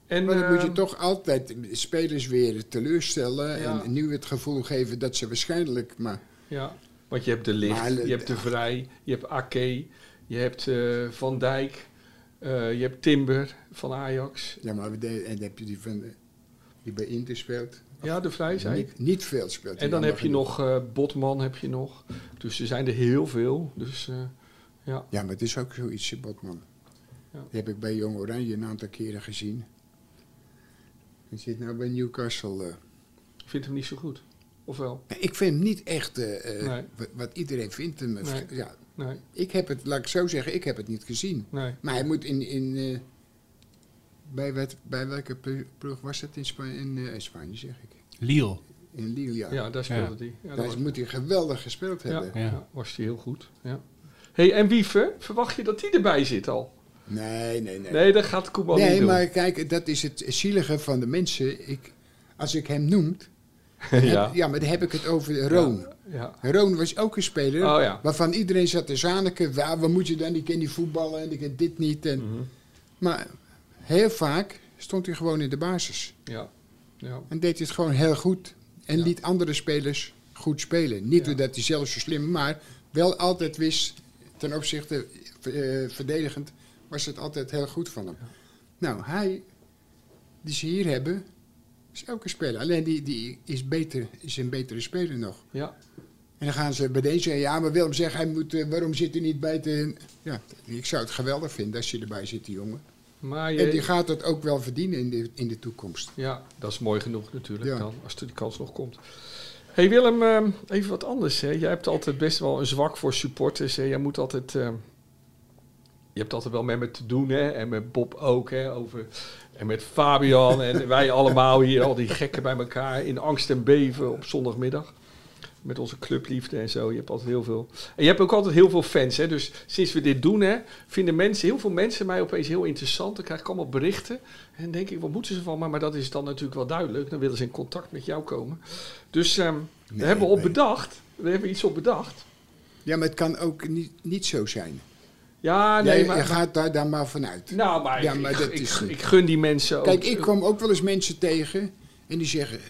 Speaker 4: En,
Speaker 2: Maar dan moet je
Speaker 4: ehm,
Speaker 2: toch altijd spelers weer teleurstellen.
Speaker 4: Ja.
Speaker 2: En nu het gevoel geven dat ze waarschijnlijk. Maar
Speaker 4: Ja, want je hebt de Licht,
Speaker 2: Maar, eh,
Speaker 4: je hebt de Vrij, je hebt Ake, je hebt eh, Van Dijk, eh, je hebt Timber van Ajax.
Speaker 2: ja, maar we de- en dan heb je die van. eh, die bij Inter speelt.
Speaker 4: Ja, de Vrij zei ik.
Speaker 2: Niet, niet veel speelt. hij
Speaker 4: En dan
Speaker 2: jammer
Speaker 4: heb je
Speaker 2: genoeg.
Speaker 4: nog eh, Botman, heb je nog. Dus er zijn er heel veel. Dus eh, ja,
Speaker 2: Ja, maar het is ook zoiets, eh, Botman.
Speaker 4: Ja.
Speaker 2: Die heb ik bij Jong Oranje een aantal keren gezien. Hij zit nou bij Newcastle. eh.
Speaker 4: ik vind hem niet zo goed. Of wel?
Speaker 2: Nee, Ik vind hem niet echt eh, eh,
Speaker 4: Nee.
Speaker 2: wa- wat iedereen vindt hem. eh,
Speaker 4: Nee.
Speaker 2: Ja,
Speaker 4: Nee,
Speaker 2: ik heb het, laat ik zo zeggen, ik heb het niet gezien.
Speaker 4: nee.
Speaker 2: Maar hij moet in. in eh, bij, wat, bij welke plo- ploeg was dat in, Spa- in eh, in Spanje, zeg ik?
Speaker 5: Liel.
Speaker 2: In Lille, ja.
Speaker 4: Ja, daar speelde hij. Ja,
Speaker 2: Daar
Speaker 4: was,
Speaker 2: moet hij geweldig gespeeld
Speaker 4: ja,
Speaker 2: hebben.
Speaker 5: Ja.
Speaker 4: ja, was hij heel goed. Ja. hey, en Wiever, verwacht je dat die erbij zit al?
Speaker 2: Nee, nee, nee.
Speaker 4: Nee, dat gaat Koeman
Speaker 2: Nee,
Speaker 4: niet doen.
Speaker 2: maar kijk, dat is het zielige van de mensen. Ik, als ik hem noem, dan heb-
Speaker 4: ja.
Speaker 2: ja, maar dan heb ik het over Roon.
Speaker 4: ja.
Speaker 2: Roon was ook een speler
Speaker 4: Oh ja.
Speaker 2: waarvan iedereen zat te zaniken. Waar, waar moet je dan? Die kan die voetballen en die kan dit niet. En,
Speaker 4: Mhm.
Speaker 2: Maar heel vaak stond hij gewoon in de basis.
Speaker 4: Ja. Ja.
Speaker 2: En deed hij het gewoon heel goed. En
Speaker 4: Ja.
Speaker 2: liet andere spelers goed spelen. Niet
Speaker 4: Ja.
Speaker 2: doordat hij zelf zo slim, maar wel altijd wist ten opzichte eh, verdedigend was het altijd heel goed van hem. Nou, hij die ze hier hebben is ook een speler. Alleen die, die is, beter, is een betere speler nog.
Speaker 4: ja.
Speaker 2: En dan gaan ze bij deze zeggen, ja, maar Willem zegt, hij moet, eh, waarom zit hij niet bij het... Ja, ik zou het geweldig vinden als je erbij zit, die jongen.
Speaker 4: Maar eh,
Speaker 2: En
Speaker 4: je,
Speaker 2: die gaat dat ook wel verdienen in de, in de toekomst.
Speaker 4: ja, dat is mooi genoeg natuurlijk
Speaker 2: Ja.
Speaker 4: dan, als de kans nog komt. hey Willem, ehm, even wat anders. Hè? Jij hebt altijd best wel een zwak voor supporters. Hè? Jij moet altijd... ehm, je hebt altijd wel met me te doen, hè? En met Bob ook, hè? Over, en met Fabian en wij allemaal hier, al die gekken bij elkaar... in angst en beven op zondagmiddag. Met onze clubliefde en zo. Je hebt altijd heel veel... En je hebt ook altijd heel veel fans, hè? Dus sinds we dit doen, hè, vinden mensen, heel veel mensen mij opeens heel interessant. Dan krijg ik allemaal berichten. En dan denk ik, wat moeten ze van me? Maar dat is dan natuurlijk wel duidelijk. Dan willen ze in contact met jou komen. Dus ehm
Speaker 2: Nee,
Speaker 4: daar hebben we op
Speaker 2: nee.
Speaker 4: bedacht. We hebben iets op bedacht.
Speaker 2: Ja, maar het kan ook niet, niet zo zijn.
Speaker 4: Ja, Ah, nee,
Speaker 2: Jij-
Speaker 4: maar...
Speaker 2: je gaat daar dan maar vanuit.
Speaker 4: nou, maar,
Speaker 2: Ja,
Speaker 4: ik-
Speaker 2: maar
Speaker 4: ik,
Speaker 2: dat
Speaker 4: ik,
Speaker 2: is niet.
Speaker 4: ik gun die mensen ook.
Speaker 2: Kijk, ik kwam ook wel eens mensen tegen en die zeggen...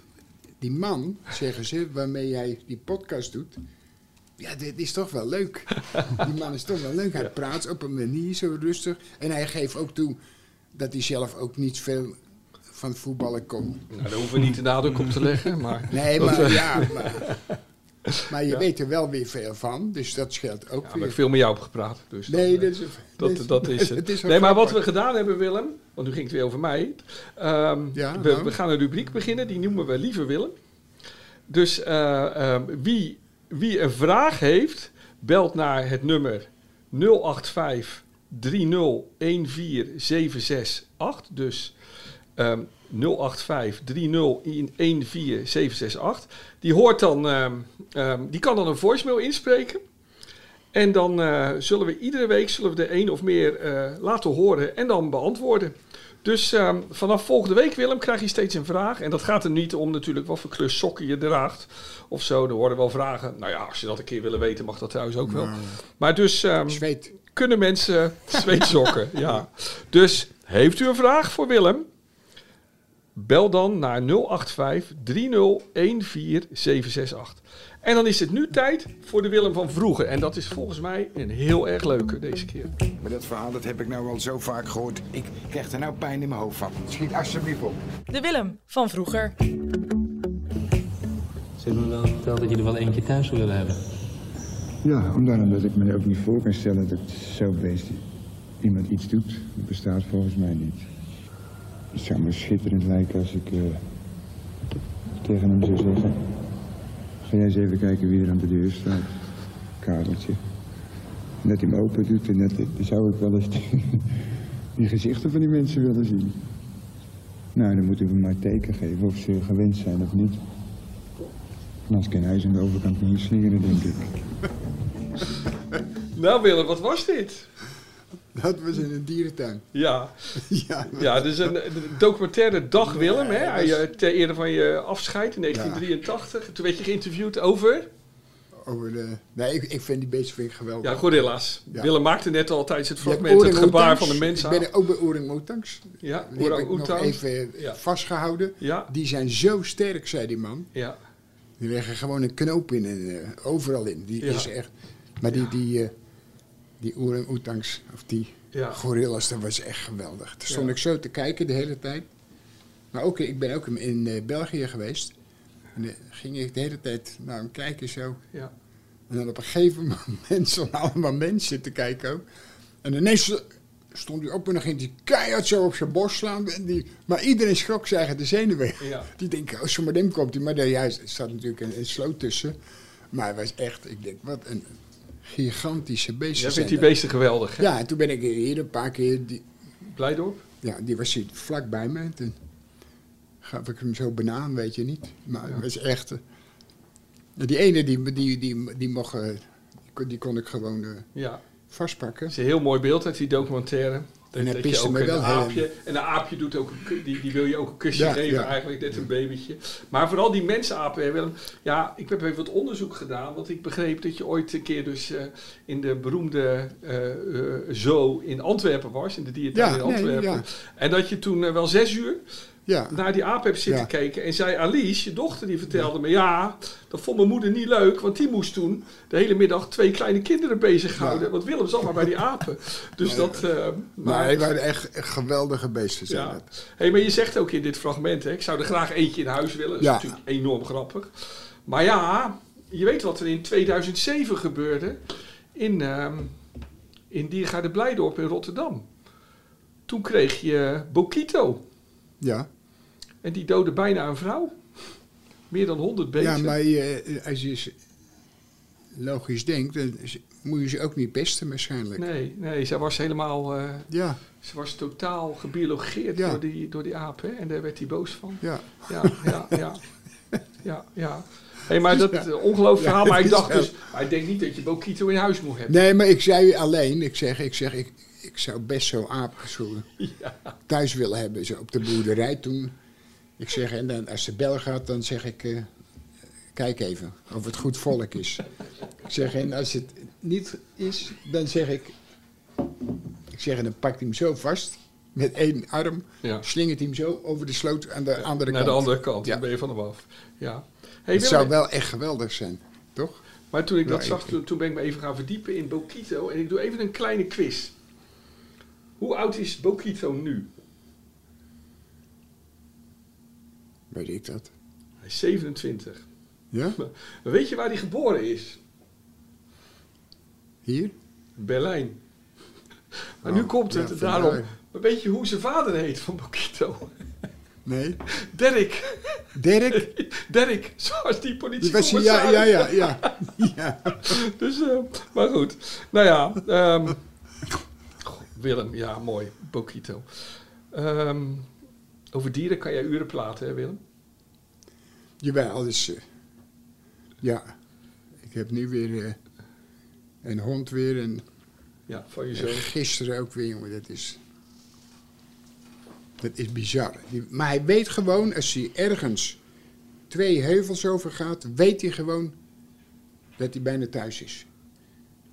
Speaker 2: Die man, zeggen ze, waarmee jij die podcast doet... Ja, dit is toch wel leuk. Die man is toch wel leuk. Hij praat op een manier zo rustig. En hij geeft ook toe dat hij zelf ook niet veel van voetballen kon.
Speaker 4: Nou, daar hoeven we niet de nadruk op te leggen, maar...
Speaker 2: Nee,
Speaker 4: Dat,
Speaker 2: maar
Speaker 4: eh,
Speaker 2: ja, maar... Maar je
Speaker 4: Ja.
Speaker 2: weet er wel weer veel van, dus dat scheelt ook
Speaker 4: Ja, maar ik
Speaker 2: weer.
Speaker 4: heb veel met jou op gepraat. Dus
Speaker 2: Nee,
Speaker 4: dan, eh,
Speaker 2: dat is...
Speaker 4: Dat, dat is het.
Speaker 2: Het is ook
Speaker 4: nee, maar wat we
Speaker 2: grappig.
Speaker 4: gedaan hebben, Willem. Want nu ging het weer over mij. Ehm,
Speaker 2: Ja,
Speaker 4: we,
Speaker 2: nou.
Speaker 4: we gaan een rubriek beginnen. Die noemen we Lieve Willem. Dus eh, ehm, wie, wie een vraag heeft, belt naar het nummer 085 30 14768. Dus ehm 085 30 14768. Die hoort dan, ehm, ehm, die kan dan een voicemail inspreken. En dan eh, zullen we iedere week zullen we er één of meer eh, laten horen en dan beantwoorden. Dus ehm, vanaf volgende week, Willem, krijg je steeds een vraag. En dat gaat er niet om natuurlijk wat voor kleur sokken je draagt of zo. Er worden wel vragen. Nou ja, als je dat een keer willen weten, mag dat trouwens ook wel. Maar dus ehm,
Speaker 2: Zweet.
Speaker 4: kunnen mensen zweetsokken. ja. Dus heeft u een vraag voor Willem? Bel dan naar 085 3014 En dan is het nu tijd voor de Willem van vroeger. En dat is volgens mij een heel erg leuke deze keer.
Speaker 6: Maar dat verhaal dat heb ik nou al zo vaak gehoord. Ik krijg er nou pijn in mijn hoofd van. Schiet alsjeblieft op.
Speaker 3: De Willem van vroeger.
Speaker 7: Ze hebben me wel verteld dat je er wel eentje thuis zou willen hebben.
Speaker 6: Ja, omdat ik me ook niet voor kan stellen dat zo'n beest iemand iets doet. Dat bestaat volgens mij niet. Het zou me schitterend lijken als ik eh, tegen hem zou zeggen... Ga jij eens even kijken wie er aan de deur staat, kareltje. En dat hij hem open doet en dat dat zou ik wel eens die gezichten van die mensen willen zien. Nou, dan moeten we maar teken geven of ze gewend zijn of niet. En als kan hij ze aan de overkant niet slingeren, denk ik.
Speaker 4: Nou Willem, wat was dit?
Speaker 2: Dat was in een dierentuin.
Speaker 4: Ja,
Speaker 2: Ja,
Speaker 4: ja dus een een documentaire Dag Willem. Hè, aan je- ter ere van je afscheid in 1983. Toen werd je geïnterviewd over
Speaker 2: over de... Nee, ik, ik vind die beesten vind ik geweldig.
Speaker 4: ja, gorilla's.
Speaker 2: Ja.
Speaker 4: Willem maakte net al tijdens het
Speaker 2: Je hebt
Speaker 4: fragment het gebaar
Speaker 2: orang-oetangs.
Speaker 4: van de mens
Speaker 2: Ik
Speaker 4: aan.
Speaker 2: ben er ook bij Oering Oetangs.
Speaker 4: Ja,
Speaker 2: Die heb ik nog
Speaker 4: orang-oetangs.
Speaker 2: even eh,
Speaker 4: Ja.
Speaker 2: vastgehouden.
Speaker 4: Ja,
Speaker 2: Die zijn zo sterk, zei die man.
Speaker 4: ja.
Speaker 2: Die leggen gewoon een knoop in en eh, overal in. Die
Speaker 4: Ja.
Speaker 2: is echt. Maar die, die, eh die orang-oetangs, of die
Speaker 4: Ja.
Speaker 2: gorillas, dat was echt geweldig. Daar stond
Speaker 4: Ja.
Speaker 2: ik zo te kijken de hele tijd. Maar ook, ik ben ook in, in, eh, België geweest. En dan ging ik de hele tijd naar hem kijken zo.
Speaker 4: Ja.
Speaker 2: En dan op een gegeven moment stonden allemaal mensen te kijken ook. En ineens stond hij op en dan ging hij keihard zo op zijn borst slaan. En die, maar iedereen schrok zijn eigen de zenuwen. weg.
Speaker 4: Ja.
Speaker 2: Die denken, oh, zometeen komt hij. Maar nee, hij zat natuurlijk een, een sloot tussen. Maar hij was echt, ik denk, wat een gigantische beest.
Speaker 4: Jij
Speaker 2: zijn
Speaker 4: vindt die
Speaker 2: dat.
Speaker 4: beesten geweldig. Hè?
Speaker 2: Ja, en toen ben ik hier een paar keer, die,
Speaker 4: Blijdorp?
Speaker 2: ja, die was hier vlak bij me. Toen gaf ik hem zo banaan, weet je niet. Maar het was echt... eh, nou, Die ene, die, die, die, die mocht... eh, die kon- Die kon ik gewoon eh,
Speaker 4: Ja.
Speaker 2: vastpakken.
Speaker 4: Het is een heel mooi beeld uit die documentaire.
Speaker 2: En
Speaker 4: Dat,
Speaker 2: hij
Speaker 4: dat je
Speaker 2: piste
Speaker 4: ook
Speaker 2: me
Speaker 4: een
Speaker 2: wel
Speaker 4: aapje. En een aapje doet ook een ku- die, die wil je ook een kusje
Speaker 2: Ja,
Speaker 4: geven,
Speaker 2: ja.
Speaker 4: eigenlijk net een babytje. Maar vooral die mensapen, hè, Willem. Ja, ik heb even wat onderzoek gedaan. Want ik begreep dat je ooit een keer dus eh, in de beroemde eh, eh, zoo in Antwerpen was, in de dierentuin
Speaker 2: Ja,
Speaker 4: in
Speaker 2: nee,
Speaker 4: Antwerpen.
Speaker 2: ja.
Speaker 4: En dat je toen eh, wel zes uur
Speaker 2: Ja,
Speaker 4: naar die aap hebt zitten
Speaker 2: Ja.
Speaker 4: kijken. En zei Alice, je dochter, die vertelde me... Ja, dat vond mijn moeder niet leuk. Want die moest toen de hele middag twee kleine kinderen bezighouden. Want Willem zat maar bij die apen. Dus dat... eh,
Speaker 2: maar
Speaker 4: maar,
Speaker 2: hij waren echt geweldige beesten. Zijn
Speaker 4: ja.
Speaker 2: dat.
Speaker 4: Hey, maar je zegt ook in dit fragment... Hè, ik zou er graag eentje in huis willen. Dat is
Speaker 2: Ja.
Speaker 4: natuurlijk enorm grappig. Maar ja, je weet wat er in 2007 gebeurde. In, ehm in Diergaarde Blijdorp in Rotterdam. Toen kreeg je Bokito.
Speaker 2: Ja.
Speaker 4: En die doodde bijna een vrouw. Meer dan 100 beesten.
Speaker 2: ja, maar je, als je ze logisch denkt, dan is- moet je ze ook niet pesten waarschijnlijk.
Speaker 4: Nee, nee, zij was helemaal... eh,
Speaker 2: Ja,
Speaker 4: ze was totaal gebiologeerd
Speaker 2: Ja.
Speaker 4: door, die, door die aap. Hè? En daar werd hij boos van.
Speaker 2: ja.
Speaker 4: Ja, ja, ja. Ja, ja. Hé, maar dat eh, ongelooflijk verhaal. Maar ik
Speaker 2: dat is
Speaker 4: dacht dus... maar ik denk niet dat je Bokito in huis moet hebben.
Speaker 2: Nee, maar ik zei alleen, ik zeg, ik, zeg, ik, ik zou best zo'n aap zo thuis willen hebben, zo op de boerderij toen. Ik zeg, en dan, als de bel gaat, dan zeg ik, eh, kijk even of het goed volk is. ik zeg, en als het niet is, dan zeg ik, ik zeg, en dan pakt hij hem zo vast, met één arm,
Speaker 4: Ja.
Speaker 2: slingert hij hem zo over de sloot aan de andere
Speaker 4: Naar
Speaker 2: kant.
Speaker 4: de andere kant.
Speaker 2: Ja.
Speaker 4: Dan ben je van hem af. Ja. Hey,
Speaker 2: Het
Speaker 4: Willem,
Speaker 2: zou wel echt geweldig zijn, toch?
Speaker 4: Maar toen ik dat
Speaker 2: Ja,
Speaker 4: zag,
Speaker 2: ik-
Speaker 4: toen, toen ben ik me even gaan verdiepen in Bokito. En ik doe even een kleine quiz. Hoe oud is Bokito nu?
Speaker 2: Weet ik dat.
Speaker 4: Hij is 27.
Speaker 2: Ja?
Speaker 4: Maar Weet je waar hij geboren is?
Speaker 2: Hier?
Speaker 4: Berlijn. Maar
Speaker 2: Oh,
Speaker 4: nu komt
Speaker 2: ja,
Speaker 4: het
Speaker 2: vandaar.
Speaker 4: daarom. Maar weet je hoe zijn vader heet van Bokito?
Speaker 2: Nee?
Speaker 4: Derek.
Speaker 2: Dirk?
Speaker 4: Derek, zoals die
Speaker 2: Die
Speaker 4: politie.
Speaker 2: was hier, ja, ja, ja, ja. ja.
Speaker 4: Dus, eh, maar goed. Nou ja. ehm, goh, Willem, ja, mooi. Bokito. Ehm, over dieren kan jij uren praten, hè Willem?
Speaker 2: Jawel, dus... eh, ja, ik heb nu weer eh, een hond weer en
Speaker 4: Ja, van je
Speaker 2: en
Speaker 4: zoon.
Speaker 2: Eh, gisteren ook weer, jongen, dat is... Dat is bizar. Die- maar hij weet gewoon, als hij ergens twee heuvels over gaat, weet hij gewoon dat hij bijna thuis is.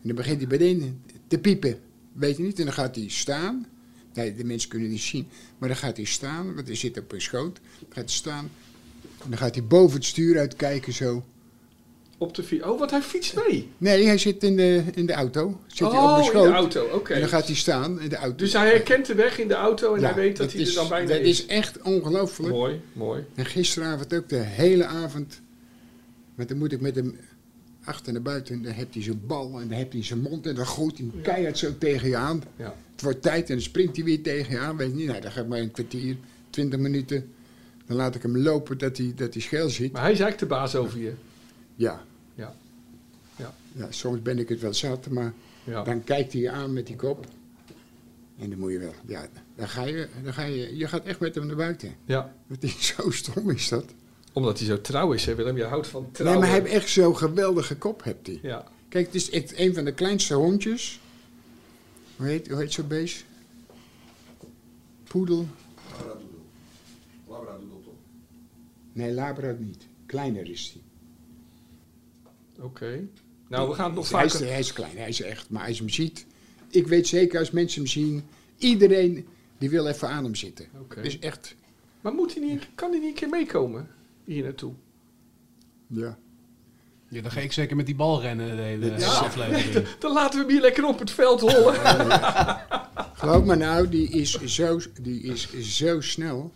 Speaker 2: En dan begint hij beneden te piepen, weet je niet, en dan gaat hij staan... Nee, de mensen kunnen niet zien. Maar dan gaat hij staan, want hij zit op een schoot. Dan gaat hij staan. En dan gaat hij boven het stuur uitkijken zo.
Speaker 4: Op de fiets. Oh, want hij fietst mee.
Speaker 2: Nee, hij zit in de, in de auto. Zit hij op
Speaker 4: oh,
Speaker 2: mijn
Speaker 4: in
Speaker 2: schoot.
Speaker 4: de auto. Oké.
Speaker 2: En dan gaat hij staan in de auto.
Speaker 4: Dus hij herkent de weg in de auto en
Speaker 2: Ja,
Speaker 4: hij weet dat, hij
Speaker 2: is,
Speaker 4: er dan bijna
Speaker 2: Dat
Speaker 4: is.
Speaker 2: is echt ongelooflijk.
Speaker 4: Mooi, mooi.
Speaker 2: En gisteravond ook de hele avond. Want dan moet ik met hem achter naar buiten. En dan heeft hij zijn bal en dan heeft hij zijn mond. En dan gooit hij hem keihard zo tegen je aan.
Speaker 4: Ja.
Speaker 2: Het wordt tijd en dan springt hij weer tegen je aan. Weet je niet, nou, dan gaat maar een kwartier, twintig minuten. Dan laat ik hem lopen dat hij, dat hij scheel ziet.
Speaker 4: Maar hij is eigenlijk de baas over je.
Speaker 2: Ja.
Speaker 4: Ja. Ja.
Speaker 2: ja. Soms ben ik het wel zat, maar
Speaker 4: Ja.
Speaker 2: dan kijkt hij je aan met die kop. En dan moet je wel. Ja, dan ga je, dan ga je, je gaat echt met hem naar buiten.
Speaker 4: ja.
Speaker 2: Het is zo stom is dat.
Speaker 4: Omdat hij zo trouw is, hè Willem? Je houdt van trouw.
Speaker 2: Nee, maar hij heeft echt zo'n geweldige kop, hebt hij.
Speaker 4: Ja.
Speaker 2: Kijk, het is echt een van de kleinste hondjes. Hoe heet, hoe heet zo'n beest? Poedel?
Speaker 8: Labradoodle toch?
Speaker 2: Nee, labra niet. Kleiner is hij.
Speaker 4: Oké. Nou, we gaan het nog
Speaker 2: Hij is,
Speaker 4: vaker...
Speaker 2: hij is klein, hij is echt, maar als je hem ziet... Ik weet zeker, als mensen hem zien... Iedereen, die wil even aan hem zitten.
Speaker 4: Oké.
Speaker 2: Dus echt...
Speaker 4: Maar moet hij niet, kan hij niet een keer meekomen hier naartoe?
Speaker 2: Ja.
Speaker 5: Ja, dan ga ik zeker met die bal rennen de hele aflevering.
Speaker 4: Dan laten we hem hier lekker op het veld rollen.
Speaker 2: Geloof me nou, die is zo, die is zo snel.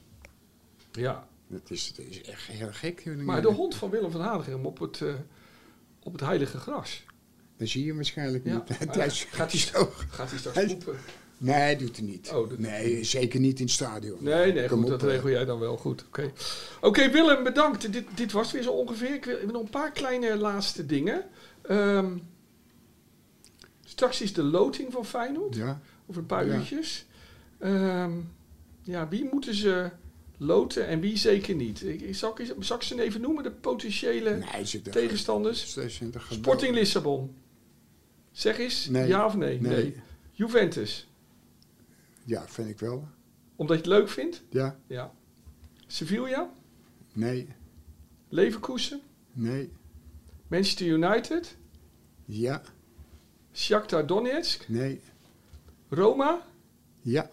Speaker 4: Ja,
Speaker 2: Dat is, dat is echt heel gek.
Speaker 4: maar de hond van Willem van Hanegem op het, eh, op het heilige gras.
Speaker 2: Dan zie je hem waarschijnlijk
Speaker 4: Ja.
Speaker 2: niet.
Speaker 4: Maar
Speaker 2: Hij is-
Speaker 4: gaat hij
Speaker 2: zo.
Speaker 4: Gaat hij straks
Speaker 2: Hij is-
Speaker 4: poepen?
Speaker 2: Nee, hij doet het niet.
Speaker 4: Oh, doet hij
Speaker 2: nee, zeker niet in het stadion.
Speaker 4: Nee, nee,
Speaker 2: Kom
Speaker 4: goed,
Speaker 2: op,
Speaker 4: dat
Speaker 2: eh.
Speaker 4: regel jij dan wel. Goed, oké. Oké, Willem, bedankt. Dit, dit was weer zo ongeveer. Ik wil ik wil nog een paar kleine laatste dingen. Ehm, straks is de loting van Feyenoord.
Speaker 2: Ja.
Speaker 4: Over een paar
Speaker 2: Ja.
Speaker 4: uurtjes. Ehm, ja, wie moeten ze loten en wie zeker niet? Ik, ik- zal, ik, zal ik ze even noemen, de potentiële
Speaker 2: Nee, hij zit er.
Speaker 4: tegenstanders?
Speaker 2: Hij zit er gewoon-
Speaker 4: Sporting Lissabon. Zeg eens,
Speaker 2: Nee.
Speaker 4: ja of nee?
Speaker 2: Nee.
Speaker 4: Juventus,
Speaker 2: Ja, vind ik wel.
Speaker 4: omdat je het leuk vindt?
Speaker 2: Ja,
Speaker 4: Ja. Sevilla,
Speaker 2: nee,
Speaker 4: Leverkusen,
Speaker 2: nee,
Speaker 4: Manchester United,
Speaker 2: ja,
Speaker 4: Shakhtar Donetsk,
Speaker 2: nee,
Speaker 4: Roma,
Speaker 2: ja,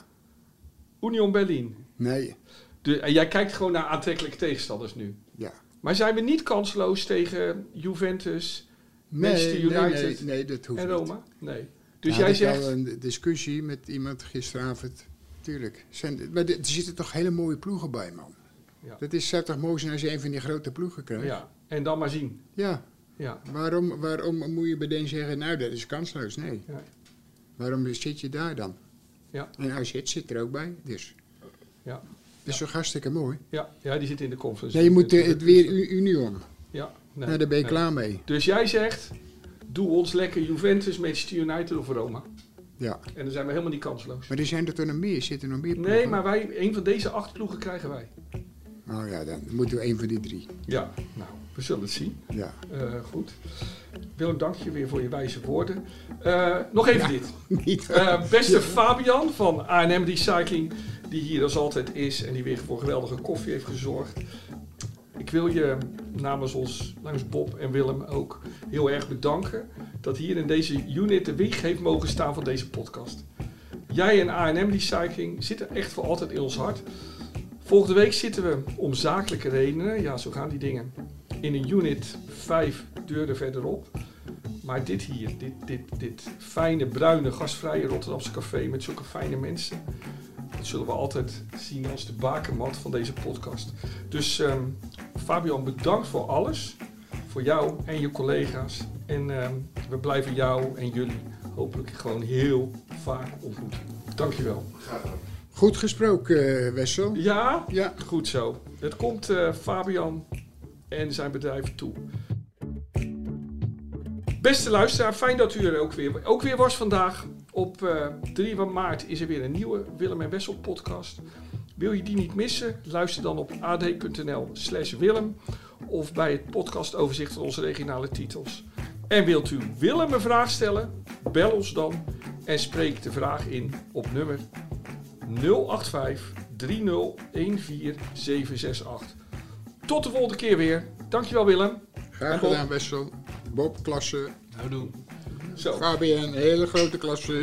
Speaker 4: Union Berlin.
Speaker 2: nee,
Speaker 4: De, en jij kijkt gewoon naar aantrekkelijke tegenstanders nu.
Speaker 2: ja.
Speaker 4: Maar zijn we niet kansloos tegen Juventus
Speaker 2: Nee,
Speaker 4: Manchester United
Speaker 2: nee, nee, nee, dat hoeft
Speaker 4: en
Speaker 2: niet.
Speaker 4: Roma? Nee.
Speaker 2: Nou,
Speaker 4: Dus jij
Speaker 2: had Ik
Speaker 4: zegt...
Speaker 2: had een discussie met iemand gisteravond. Tuurlijk. Zijn, maar er zitten toch hele mooie ploegen bij, man.
Speaker 4: Ja.
Speaker 2: Dat is, zou toch mooi zijn als je een van die grote ploegen krijgt?
Speaker 4: Ja, en dan maar zien.
Speaker 2: Ja.
Speaker 4: Ja.
Speaker 2: Waarom, waarom moet je meteen zeggen, nou dat is kansloos? Nee.
Speaker 4: Ja.
Speaker 2: Waarom zit je daar dan?
Speaker 4: Ja.
Speaker 2: En AZ zit er ook bij, dus.
Speaker 4: Ja.
Speaker 2: Dat is toch hartstikke mooi?
Speaker 4: Ja, ja, die zit in de conference.
Speaker 2: Nee, je moet eh, het
Speaker 4: natuurlijk.
Speaker 2: weer U- Union.
Speaker 4: Ja, nee,
Speaker 2: Nou, daar ben je
Speaker 4: nee.
Speaker 2: klaar mee.
Speaker 4: Dus jij zegt, doe ons lekker Juventus, Manchester United of Roma.
Speaker 2: Ja.
Speaker 4: En dan zijn we helemaal niet kansloos.
Speaker 2: Maar er zijn er toch nog meer? Zitten er nog meer
Speaker 4: Nee,
Speaker 2: ploegen?
Speaker 4: maar wij, een van deze acht ploegen krijgen wij.
Speaker 2: Oh ja, dan moeten we één van die drie.
Speaker 4: Ja, nou, we zullen het zien.
Speaker 2: Ja.
Speaker 4: Eh, goed. Willem, dank je weer voor je wijze woorden. Eh, nog even dit.
Speaker 2: Niet.
Speaker 4: Eh, beste Fabian van A&M Recycling, die hier als altijd is en die weer voor geweldige koffie heeft gezorgd. Ik wil je namens ons, namens Bob en Willem ook, heel erg bedanken dat hier in deze unit de wieg heeft mogen staan van deze podcast. Jij en A&M Recycling zitten echt voor altijd in ons hart. Volgende week zitten we om zakelijke redenen, ja zo gaan die dingen, in een unit 5 deuren verderop. Maar dit hier, dit, dit, dit fijne, bruine, gastvrije Rotterdamse café met zulke fijne mensen. Dat zullen we altijd zien als de bakermat van deze podcast. Dus ehm, Fabian, bedankt voor alles. Voor jou en je collega's. En ehm, we blijven jou en jullie hopelijk gewoon heel vaak ontmoeten. Dankjewel.
Speaker 2: Goed gesproken, eh, Wessel.
Speaker 4: Ja,
Speaker 2: Ja.
Speaker 4: goed zo. Het komt eh, Fabian en zijn bedrijf toe. Beste luisteraar, fijn dat u er ook weer, ook weer was vandaag. Op eh 3 van maart is er weer een nieuwe Willem en Wessel podcast. Wil je die niet missen? Luister dan op ad.nl slash Willem of bij het podcastoverzicht van onze regionale titels. En wilt u Willem een vraag stellen? Bel ons dan en spreek de vraag in op nummer 085 3014768. Tot de volgende keer weer. Dankjewel Willem.
Speaker 2: Graag
Speaker 4: Bob.
Speaker 2: gedaan, Wessel. Bob, klasse.
Speaker 5: Nou doen.
Speaker 4: Zo.
Speaker 2: Fabian, hele grote klasse.